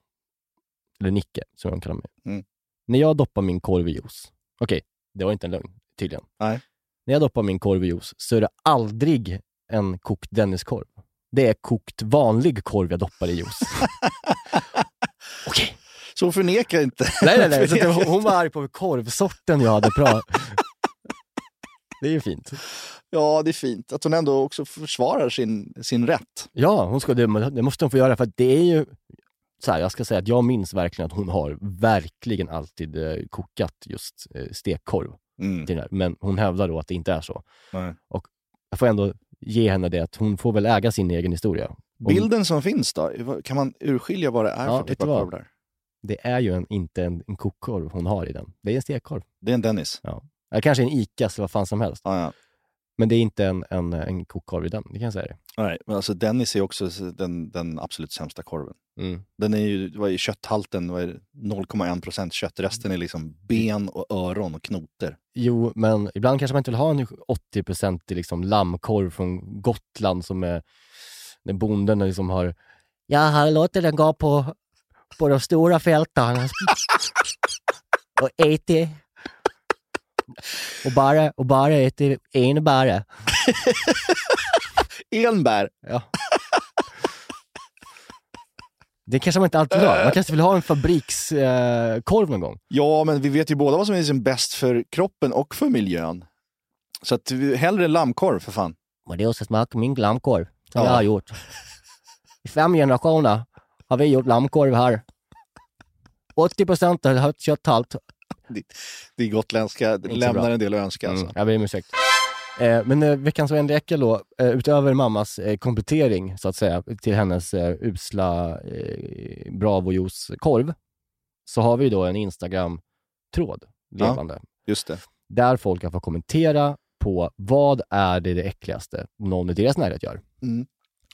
S4: Eller Nicke, som hon kallar mig.
S3: Mm.
S4: När jag doppar min korv i juice. Okej, det var inte en lögn, tydligen.
S3: Nej.
S4: När jag doppar min korv i juice så är det aldrig en kokt Denniskorv. Det är kokt vanlig korv jag doppar i juice. Okej.
S3: Så hon förnekar inte.
S4: Nej, nej, nej. Så att det var, hon var arg på korvsorten jag hade pratat. Det är ju fint.
S3: Ja, det är fint att hon ändå också försvarar sin, sin rätt.
S4: Ja, hon ska, det, men det måste hon få göra för att det är ju... Så här, jag ska säga att jag minns verkligen att hon har verkligen alltid eh, kokat just eh, stekkorv.
S3: Mm.
S4: till den här. Men hon hävdar då att det inte är så.
S3: Nej.
S4: Och jag får ändå ge henne det att hon får väl äga sin egen historia. Om-
S3: Bilden som finns då, kan man urskilja vad det är
S4: Ja,
S3: för
S4: vet
S3: typ
S4: du
S3: av
S4: vad?
S3: korv där?
S4: Det är ju en, inte en, en kokkorv hon har i den. Det är en stekkorv.
S3: Det är en Dennis.
S4: Eller kanske en Icas eller vad fan som helst.
S3: Ja, ja.
S4: Men det är inte en, en, en kokkorv i den, det kan jag säga dig.
S3: Nej, men alltså Dennis är också den, den absolut sämsta korven.
S4: Mm.
S3: Den är ju, vad är kötthalten, vad är det? 0,1 procent kött. Resten är liksom ben och öron och knoter.
S4: Jo, men ibland kanske man inte vill ha en 80-procentig liksom lammkorv från Gotland som är när bonden liksom har... Ja, här låter den gå på, på de stora fälten. och äter. Och bara, och bara äter en bara.
S3: Enbär!
S4: Ja. Det kanske man inte alltid vill ha. Man kanske vill ha en fabrikskorv eh, korv någon gång.
S3: Ja, men vi vet ju båda vad som är liksom bäst för kroppen och för miljön. Så att, vi- hellre lammkorv för fan.
S4: Men det är också smak min lammkorv som
S3: Ja.
S4: jag har gjort. I fem generationer har vi gjort lammkorv här. 80 procent har högt kötthalt.
S3: Det gotländska
S4: så
S3: lämnar
S4: bra. Mm.
S3: en del att önska. Alltså.
S4: Jag ber om ursäkt. Eh, men eh, veckans oändliga äckel då, eh, utöver mammas eh, komplettering så att säga till hennes eh, usla eh, Bravojuice-korv, så har vi då en Instagram-tråd
S3: Ja.
S4: levande.
S3: Just det.
S4: Där folk kan få kommentera på vad är det, det äckligaste någon i deras närhet gör.
S3: Mm.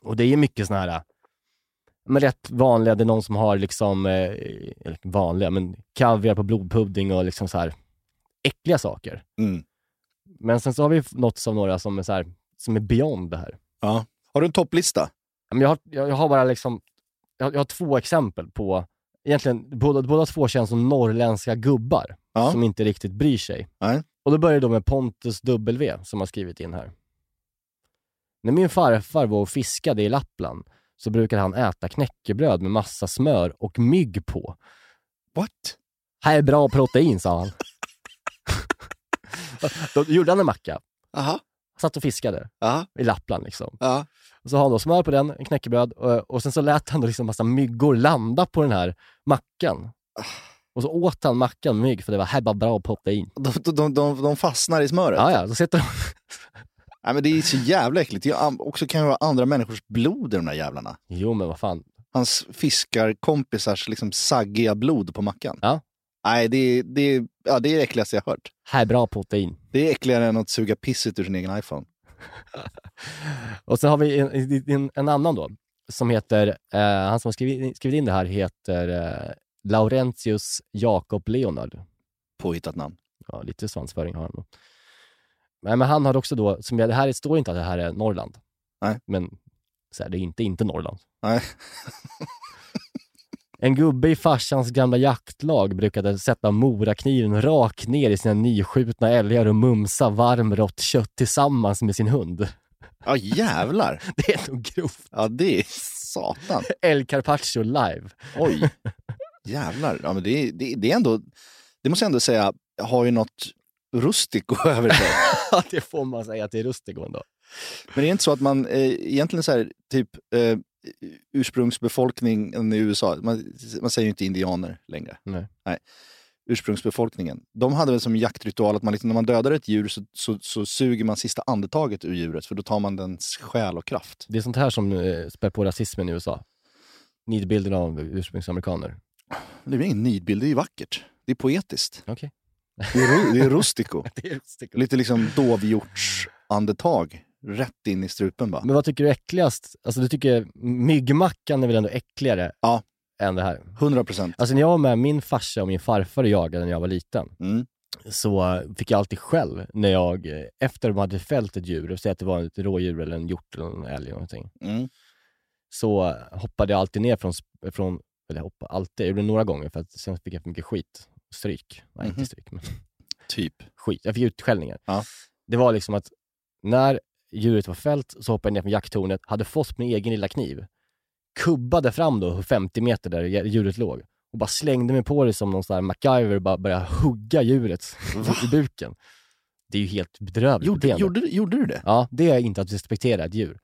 S4: Och det är mycket sådana här äh, men rätt vanliga, det är någon som har liksom, eh, eller vanliga, men kaviar på blodpudding och liksom så här äckliga saker.
S3: Mm.
S4: Men sen så har vi något av några som är så här, som är beyond det här.
S3: Ja. Har du en topplista?
S4: Men jag, har, jag jag har bara liksom, jag, har- jag har två exempel på, egentligen båda, båda två känns som norrländska gubbar
S3: Ja.
S4: som inte riktigt bryr sig.
S3: Nej.
S4: Och då börjar det då med Pontus W som har skrivit in här. När min farfar var och fiskade i Lappland så brukade han äta knäckebröd med massa smör och mygg på.
S3: What?
S4: Här är bra protein, sa han. då gjorde han en macka,
S3: Aha.
S4: satt och fiskade
S3: Aha.
S4: i Lappland liksom.
S3: Ja.
S4: Och så har han då smör på den, en knäckebröd och, och sen så lät han då liksom massa myggor landa på den här mackan. Och så åt han mackan mygg för det var här bara bra protein.
S3: De, de, de, de fastnar i smöret.
S4: Ja, ja, så sitter de...
S3: Nej, men det är så jävla äckligt. Jag am- också kan ju vara andra människors blod i de där jävlarna.
S4: Jo men vad fan.
S3: Hans fiskarkompisars liksom saggiga blod på mackan.
S4: Ja.
S3: Nej, det är det, är, ja, det, är det äckligaste jag har hört.
S4: Här är bra protein.
S3: Det är äckligare än att suga pisset ur sin egen iPhone.
S4: Och sen har vi en, en, en annan då, som heter, eh, han som har skrivit, skrivit in det här heter eh, Laurentius Jakob Leonard.
S3: Påhittat namn.
S4: Ja, lite svansföring har han då. Nej, men han har också då, som jag, det här står inte att det här är Norrland.
S3: Nej.
S4: Men så här, det är inte inte Norrland.
S3: Nej.
S4: En gubbe i farsans gamla jaktlag brukade sätta morakniven rakt ner i sina nyskjutna älgar och mumsa varmrått kött tillsammans med sin hund.
S3: Ja, jävlar.
S4: Det är nog grovt.
S3: Ja, det är satan.
S4: El Carpaccio live.
S3: Oj. Jävlar. Ja, men det, det, det är ändå, det måste jag ändå säga, har ju något rustico över sig.
S4: Ja, det får man säga att det är Rustigo ändå.
S3: Men det är inte så att man eh, egentligen så här, typ eh, ursprungsbefolkningen i USA, man, man säger ju inte indianer längre.
S4: Nej.
S3: Ursprungsbefolkningen, de hade väl som jaktritual att man liksom, när man dödar ett djur så, så, så suger man sista andetaget ur djuret för då tar man dens själ och kraft.
S4: Det är sånt här som eh, spär på rasismen i USA. Nidbilden av ursprungsamerikaner.
S3: Det är ju ingen nidbild, det är ju vackert. Det är poetiskt.
S4: Okej.
S3: Det är, ru- det är rustico.
S4: Det är Rustigo.
S3: Lite liksom dovhjortsandetag rätt in i strupen bara.
S4: Men vad tycker du är äckligast? Alltså du tycker myggmackan är väl ändå äckligare
S3: Ja.
S4: än det här?
S3: 100 procent.
S4: Alltså när jag var med min farsa och min farfar och jagade när jag var liten,
S3: Mm.
S4: så eh, fick jag alltid skäll när jag, eh, efter de hade fällt ett djur, säg att det var ett rådjur eller en hjort eller en älg eller någonting,
S3: Mm.
S4: så eh, hoppade jag alltid ner från, sp- från eller hoppa, alltid, jag gjorde det några gånger för att sen fick jag för mycket skit. Stryk. Nej, inte
S3: Mhm.
S4: stryk, men
S3: Typ.
S4: skit. Jag fick utskällningar.
S3: Ja.
S4: Det var liksom att när djuret var fällt så hoppade jag ner från jakttornet, hade fått min egen lilla kniv, kubbade fram då 50 meter där djuret låg och bara slängde mig på det som någon sån här MacGyver och bara började hugga djuret i buken. Det är ju helt bedrövligt
S3: Gjorde,
S4: beteende.
S3: gjorde, gjorde du det?
S4: Ja, det är inte att respektera ett djur.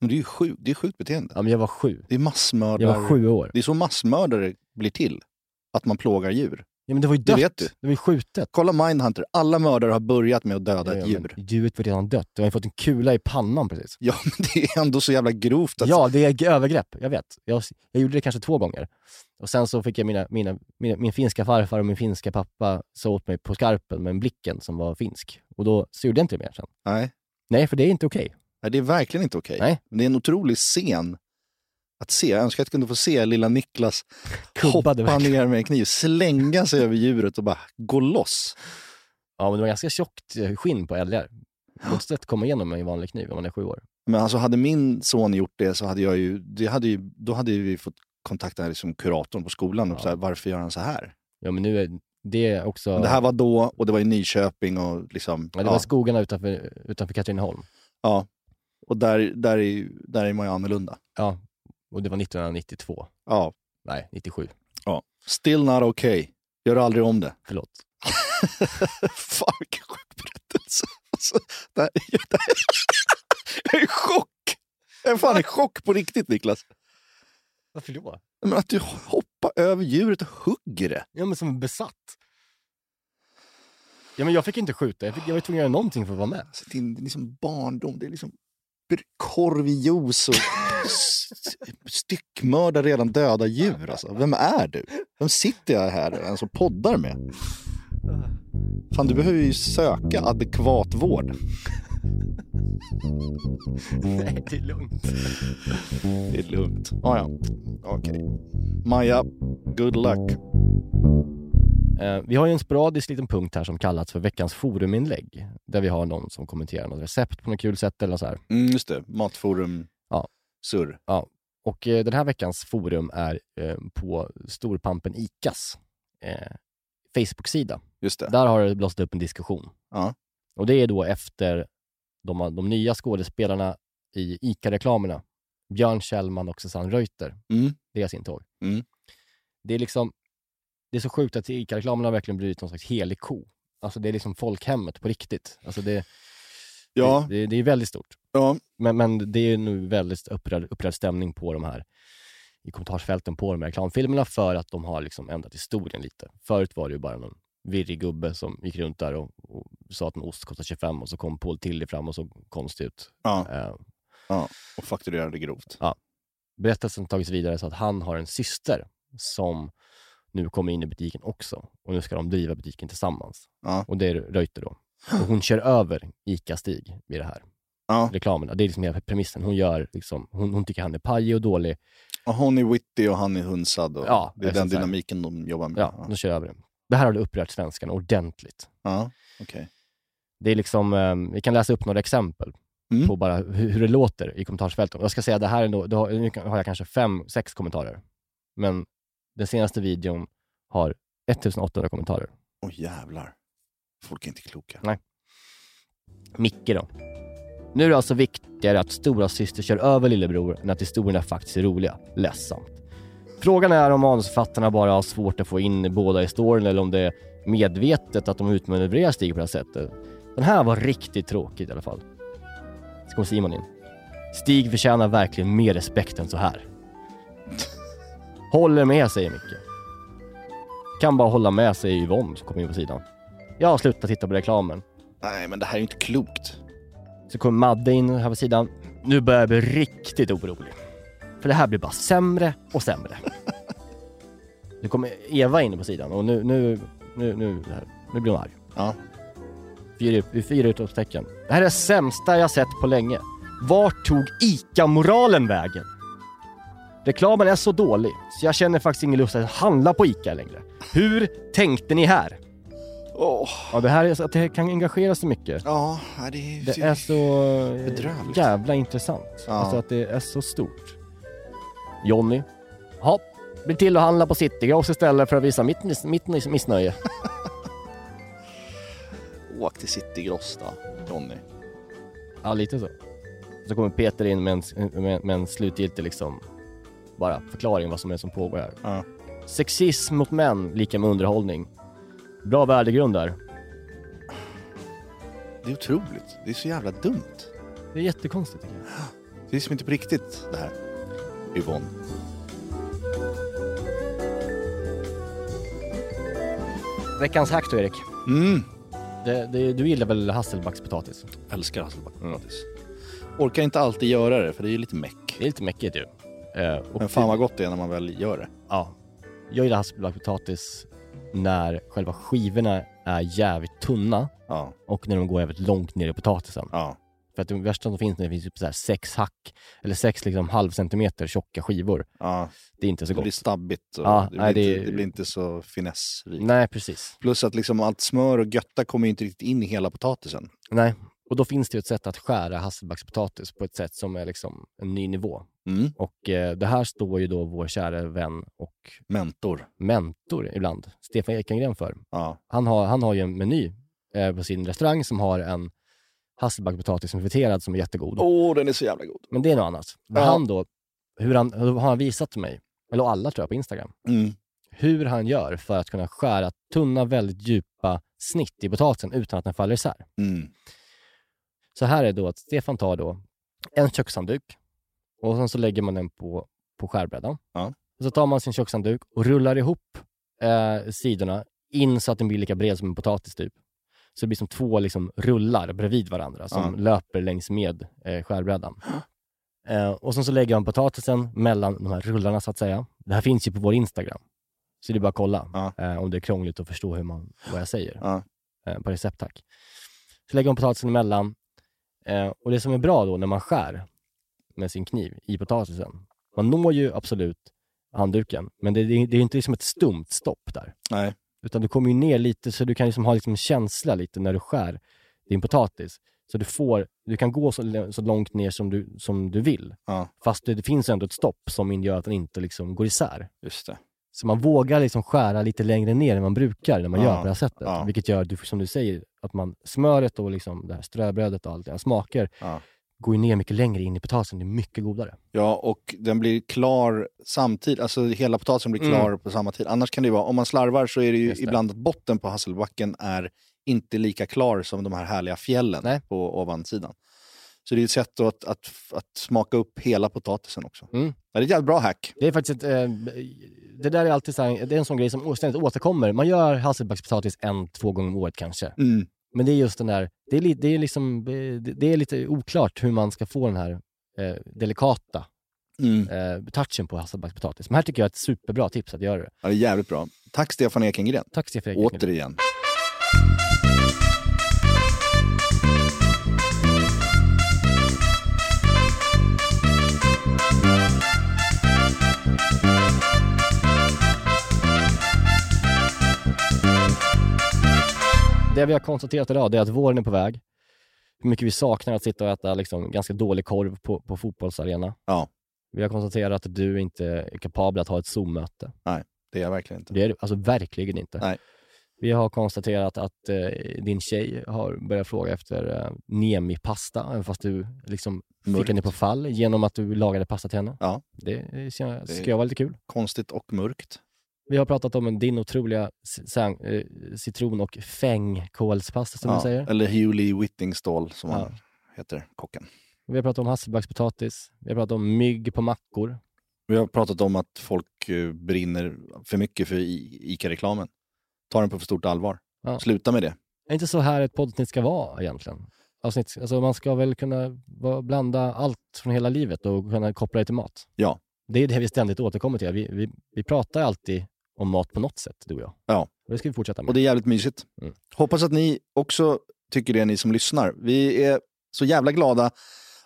S3: Men det är ju sjukt, det är sjukt beteende.
S4: Ja, men jag var sju.
S3: Det är massmördare.
S4: Jag var sju år.
S3: Det är så massmördare blir till. Att man plågar djur.
S4: Ja, men det var ju
S3: Det
S4: dött.
S3: vet du.
S4: Det var ju skjutet.
S3: Kolla Mindhunter, alla mördare har börjat med att döda
S4: Ja,
S3: ett
S4: men
S3: djur.
S4: Djuret var redan dött. Du har ju fått en kula i pannan precis.
S3: Ja, men det är ändå så jävla grovt. Att,
S4: Ja, det är g- övergrepp. Jag vet. Jag, jag gjorde det kanske två gånger. Och sen så fick jag mina, mina, mina, min finska farfar och min finska pappa sa åt mig på skarpen med en blicken som var finsk. Och då så gjorde jag inte det mer sen.
S3: Nej,
S4: Nej, för det är inte okej.
S3: nej, det är verkligen inte okej.
S4: Nej.
S3: Men Det är en otrolig scen att se. Jag önskar att jag kunde få se lilla Niklas
S4: Kubbade
S3: hoppa
S4: verkligen.
S3: ner med en kniv, slänga sig över djuret och bara gå loss.
S4: Ja, men det var ganska tjockt eh, skinn på älgar. Motståndet kommer igenom med en vanlig kniv om man är sju år.
S3: Men alltså hade min son gjort det så hade jag ju, det hade ju då hade ju vi fått kontakta liksom kuratorn på skolan och
S4: Ja.
S3: så här, varför gör han så här?
S4: Ja, men nu är det också...
S3: Men Det här var då och det var i Nyköping och liksom...
S4: ja, det var skogarna utanför, utanför Katrineholm.
S3: ja. Och där, där, är, där är man ju annorlunda.
S4: Ja, och det var 1992.
S3: Ja.
S4: Nej, 97.
S3: Still not okay. Gör aldrig om det.
S4: Förlåt.
S3: Fan vilken sjuk berättelse. Alltså, det här, det här, jag är i chock. Jag är fan i chock på riktigt Niklas.
S4: Varför då?
S3: Men att du hoppar över djuret och hugger det.
S4: Ja, men som besatt. Ja, men jag fick inte skjuta. Jag, fick, jag var tvungen att göra någonting för att vara med.
S3: Alltså, din liksom barndom, det är liksom br- korv i juice och s- styckmörda redan döda djur. Alltså. Vem är du? Vem sitter jag här ens och poddar med? Fan, du behöver ju söka adekvat vård.
S4: Nej, det är lugnt.
S3: Det är lugnt. Ah, ja. Okej. Maja, good luck.
S4: Eh, vi har ju en sporadisk liten punkt här som kallats för veckans foruminlägg. Där vi har någon som kommenterar något recept på något kul sätt eller så här.
S3: Mm, just det, Matforum.
S4: Ja.
S3: Surr.
S4: Och eh, den här veckans forum är eh, på storpampen ICAs eh, Facebook-sida.
S3: Just det.
S4: Där har det blossat upp en diskussion.
S3: Ja.
S4: Och det är då efter de, de nya skådespelarna i ICA-reklamerna, Björn Kjellman och Susanne Reuter,
S3: Mm.
S4: deras intåg.
S3: Mm.
S4: Det är liksom, det är så sjukt att ICA-reklamerna verkligen blivit någon slags helig ko. Alltså det är liksom folkhemmet på riktigt. Alltså det,
S3: Ja,
S4: det, det, det är väldigt stort.
S3: ja.
S4: Men, men det är nu väldigt upprörd, upprörd stämning på de här i kommentarsfälten på de här reklamfilmerna för att de har liksom ändrat historien lite. Förut var det ju bara någon virrig gubbe som gick runt där och, och sa att en ost kostar 25 och så kom Paul Tilly fram och såg konstig ut.
S3: ja.
S4: Eh,
S3: Och fakturerade grovt.
S4: berättelsen har tagits vidare så att han har en syster som nu kommer in i butiken också och nu ska de driva butiken tillsammans.
S3: Ja.
S4: Och det är Reuter då. Och hon kör över ICA-Stig i det här.
S3: Ja.
S4: Reklamerna. Det är liksom hela premissen. Hon, gör liksom, hon, hon tycker han är pajig och dålig
S3: Och hon är witty och han är hunsad. Och
S4: Ja,
S3: det är
S4: exakt
S3: den
S4: så här.
S3: dynamiken de jobbar med.
S4: Ja, de kör över det. Det här har det upprört svenskarna ordentligt.
S3: ja. okej.
S4: Det är liksom, eh, vi kan läsa upp några exempel
S3: Mm.
S4: på bara hur, hur det låter i kommentarsfältet. Jag ska säga det här ändå, det har, nu kan- har jag kanske fem, sex kommentarer. Men den senaste videon har 1800 kommentarer.
S3: Åh jävlar. Folk är inte kloka.
S4: Nej. Micke då. Nu är det alltså viktigare att stora syster kör över lillebror än att historierna faktiskt är roliga. Ledsamt. Frågan är om manusförfattarna bara har svårt att få in båda i storyn eller om det är medvetet att de utmanövrerar Stig på det här sättet. Den här var riktigt tråkig i alla fall. Så kommer Simon in. Stig förtjänar verkligen mer respekt än så här. Håller med, säger Micke. Kan bara hålla med, säger Yvonne som kommer in på sidan. Jag har slutat titta på reklamen.
S3: Nej, men det här är ju inte klokt.
S4: Så kommer Madde in här på sidan. Nu börjar jag bli riktigt orolig. För det här blir bara sämre och sämre. Nu kommer Eva in på sidan och nu, nu, nu, nu, det här. nu blir hon arg.
S3: Ja.
S4: Fyra, ut- fyra utropstecken. Det här är det sämsta jag sett på länge. Vart tog ICA-moralen vägen? Reklamen är så dålig så jag känner faktiskt ingen lust att handla på ICA längre. Hur tänkte ni här?
S3: Åh.
S4: Ja, det här är så att det kan engagera så mycket.
S3: Ja, nej, det är...
S4: Det är så
S3: Bedrövligt.
S4: jävla intressant.
S3: Ja.
S4: Alltså att det är så stort. Jonny. Ja, blir till att handla på Citygross istället för att visa mitt, miss, mitt miss- missnöje.
S3: Åk till City Gross då, Johnny.
S4: ja, lite så. Så kommer Peter in med en, med, med en slutgiltig liksom, bara förklaring vad som är som pågår här.
S3: Ja.
S4: Sexism mot män, lika med underhållning. Bra värdegrund där.
S3: Det är otroligt. Det är så jävla dumt.
S4: Det är jättekonstigt tycker jag.
S3: Det är som inte på riktigt det här. Yvonne.
S4: Veckans hack då Erik.
S3: Mm.
S4: Det, det, du gillar väl hasselbackspotatis?
S3: Älskar hasselbackpotatis. Orkar inte alltid göra det, för det är ju lite meck.
S4: Det är lite mäckigt ju. Eh, och
S3: Men fan vad gott det är när man väl gör det.
S4: Ja. Jag gillar hasselbackpotatis när själva skivorna är jävligt tunna
S3: Ja,
S4: och när de går jävligt långt ner i potatisen.
S3: ja.
S4: För att det värsta som finns nu finns ju på så här sex hack, eller sex liksom halvcentimeter tjocka skivor.
S3: ja.
S4: Det är inte så
S3: Det
S4: gott.
S3: blir stabbigt och
S4: Ja,
S3: det, blir
S4: nej, det
S3: inte,
S4: är-
S3: det blir inte så finessrikt.
S4: Nej, precis.
S3: Plus att liksom allt smör och götta kommer ju inte riktigt in i hela potatisen.
S4: Nej. Och då finns det ju ett sätt att skära hasselbackspotatis på ett sätt som är liksom en ny nivå.
S3: Mm.
S4: Och eh, det här står ju då vår kära vän och
S3: Mentor.
S4: mentor ibland, Stefan Ekengren för.
S3: Ja.
S4: Han har, han har ju en meny eh, på sin restaurang som har en hasselbackpotatis som är friterad som är jättegod.
S3: Åh, den är så jävla god.
S4: Men det är något annat. Men
S3: Ja.
S4: han då, hur han, hur har han visat till mig, eller alla tror jag på Instagram,
S3: Mm.
S4: hur han gör för att kunna skära tunna, väldigt djupa snitt i potatisen utan att den faller isär.
S3: Mm.
S4: Så här är då att Stefan tar då en kökshandduk och sen så lägger man den på, på skärbrädan.
S3: Ja.
S4: Och Så tar man sin kökshandduk och rullar ihop eh, sidorna in så att den blir lika bred som en potatis typ. Så det blir som två liksom, rullar bredvid varandra som
S3: Ja.
S4: löper längs med eh, skärbrädan. Eh, och sen så lägger man potatisen mellan de här rullarna så att säga. Det här finns ju på vår Instagram. Så det är bara att kolla
S3: Ja.
S4: eh, om det är krångligt att förstå hur man, vad jag säger
S3: Ja.
S4: eh, på recept tack. Så lägger man potatisen emellan. Eh, och det som är bra då när man skär med sin kniv i potatisen, man når ju absolut handduken, men det, det, det är inte liksom ett stumt stopp där.
S3: Nej.
S4: Utan du kommer ju ner lite så du kan liksom ha liksom en känsla lite när du skär din potatis. Så du, får, du kan gå så, l- så långt ner som du, som du vill.
S3: Ja,
S4: Fast det, det finns ändå ett stopp som gör att den inte liksom går isär.
S3: just det.
S4: Så man vågar liksom skära lite längre ner än man brukar när man
S3: Ja,
S4: gör på det här sättet.
S3: ja.
S4: Vilket gör, du- som du säger, att man, smöret och liksom det här ströbrödet och allt det här smaker
S3: Ja.
S4: går ju ner mycket längre in i potatisen. Det är mycket godare.
S3: Ja, och den blir klar samtidigt. Alltså hela potatisen blir
S4: Mm.
S3: klar på samma tid. Annars kan det ju vara, om man slarvar så är det ju
S4: Just det.
S3: ibland att botten på hasselbacken är inte lika klar som de här härliga fjällen
S4: Nej.
S3: på ovansidan. Så det är ett sätt då att, att, att smaka upp hela potatisen också.
S4: Mm.
S3: Ja, det är ett jävligt bra hack.
S4: Det är faktiskt ett, eh, det där är alltid så här, det är en sån grej som ständigt återkommer. Man gör hasselbackspotatis en, två gånger om året kanske.
S3: Mm.
S4: Men det är just den där, det är, li, det är, liksom, eh, det- det är lite oklart hur man ska få den här eh, delikata
S3: Mm.
S4: eh, touchen på hasselbackspotatis. Men här tycker jag är ett superbra tips att göra det.
S3: Ja, det är jävligt bra. Tack Stefan Ekengren.
S4: Tack Stefan Ekengren.
S3: Återigen.
S4: det vi har konstaterat idag det är att våren är på väg. Hur mycket vi saknar att sitta och äta liksom, ganska dålig korv på, på fotbollsarena.
S3: Ja.
S4: Vi har konstaterat att du inte är kapabel att ha ett Zoom-möte.
S3: Nej, det är jag verkligen inte.
S4: Det är du alltså verkligen inte.
S3: Nej.
S4: Vi har konstaterat att eh, din tjej har börjat fråga efter eh, Nemi-pasta, även fast du liksom fick
S3: Mörkt.
S4: henne på fall genom att du lagade pasta till henne.
S3: Ja.
S4: Det, det ska,
S3: Det-
S4: ska vara lite kul.
S3: Konstigt och mörkt.
S4: Vi har pratat om din otroliga c- sang, eh, citron och fängkålspasta som
S3: ja.
S4: du säger.
S3: Eller Hewley Whittingstall som
S4: Ja.
S3: han heter, kocken.
S4: Vi har pratat om hasselbackspotatis. Vi har pratat om mygg på mackor.
S3: Vi har pratat om att folk eh, brinner för mycket för I- ICA-reklamen. Ta den på för stort allvar.
S4: Ja.
S3: Sluta med det.
S4: Det är inte så här ett poddavsnitt ska vara egentligen. Avsnitt, alltså man ska väl kunna va- blanda allt från hela livet och kunna koppla det till mat.
S3: Ja.
S4: Det är det vi ständigt återkommer till. Vi, vi, vi pratar alltid om mat på något sätt, du och jag.
S3: Ja.
S4: Och det ska vi fortsätta med.
S3: Och det är jävligt mysigt.
S4: Mm.
S3: Hoppas att ni också tycker det, ni som lyssnar. Vi är så jävla glada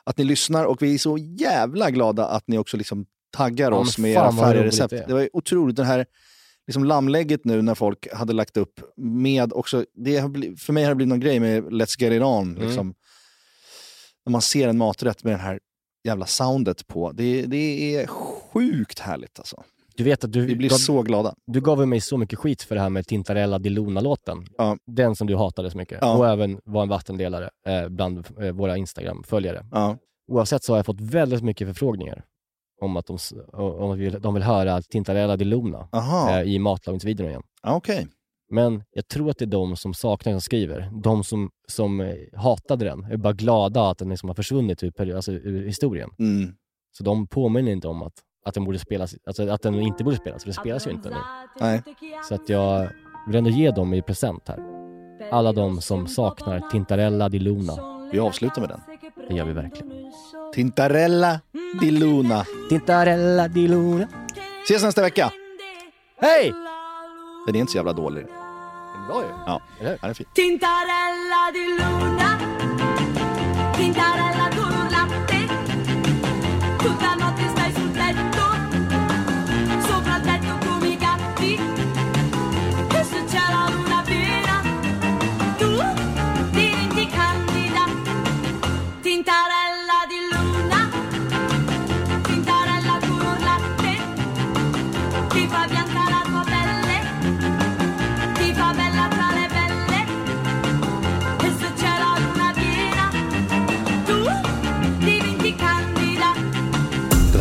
S3: att ni lyssnar och vi är så jävla glada att ni också liksom taggar
S4: Ja,
S3: oss
S4: men
S3: med
S4: fan
S3: era
S4: vad
S3: färre
S4: roligt
S3: recept.
S4: det är.
S3: Det var ju otroligt, det här liksom lammlägget nu när folk hade lagt upp med också, det har blivit, för mig har det blivit någon grej med Let's Get It On.
S4: Mm.
S3: Liksom. När man ser en maträtt med det här jävla soundet på. Det, det är sjukt härligt alltså.
S4: Du vet att du,
S3: Vi blir
S4: gav,
S3: så glada.
S4: du gav ju mig så mycket skit för det här med Tintarella di Luna-låten.
S3: Ja.
S4: Den som du hatade så mycket.
S3: Ja.
S4: Och även var en vattendelare eh, bland eh, våra Instagram-följare.
S3: Ja.
S4: Oavsett så har jag fått väldigt mycket förfrågningar om att de, s- om att vi vill- de vill höra Tintarella di Luna
S3: Aha,
S4: eh, i matlagningsvideon igen.
S3: ja, okej.
S4: Men jag tror att det är de som saknar som skriver. De som, som eh, hatade den är bara glada att den liksom har försvunnit ur, peri- alltså, ur historien.
S3: Mm.
S4: Så de påminner inte om att, att, den borde spelas, alltså, att den inte borde spelas, för den spelas ju inte nu.
S3: Nej.
S4: Så att jag vill ändå ge dem i present här. Alla de som saknar Tintarella di Luna.
S3: Vi avslutar med den.
S4: Det gör vi verkligen.
S3: Tintarella di Luna.
S4: Tintarella di Luna.
S3: Ses nästa vecka.
S4: Hej!
S3: Den är inte så jävla dålig.
S4: Bra ju.
S3: Ja,
S4: Eller hur?
S3: den är fin.
S11: Tintarella di luna, tintarella con latte, tutta notte stai sul tetto, sopra il tetto come i gatti, e se c'è la luna piena, tu diventi candida. Tintarella di luna, tintarella con latte, ti fa bianca la tua pelle, ti fa bella tra le belle. E se c'è la luna piena, tu diventi candida.
S8: Den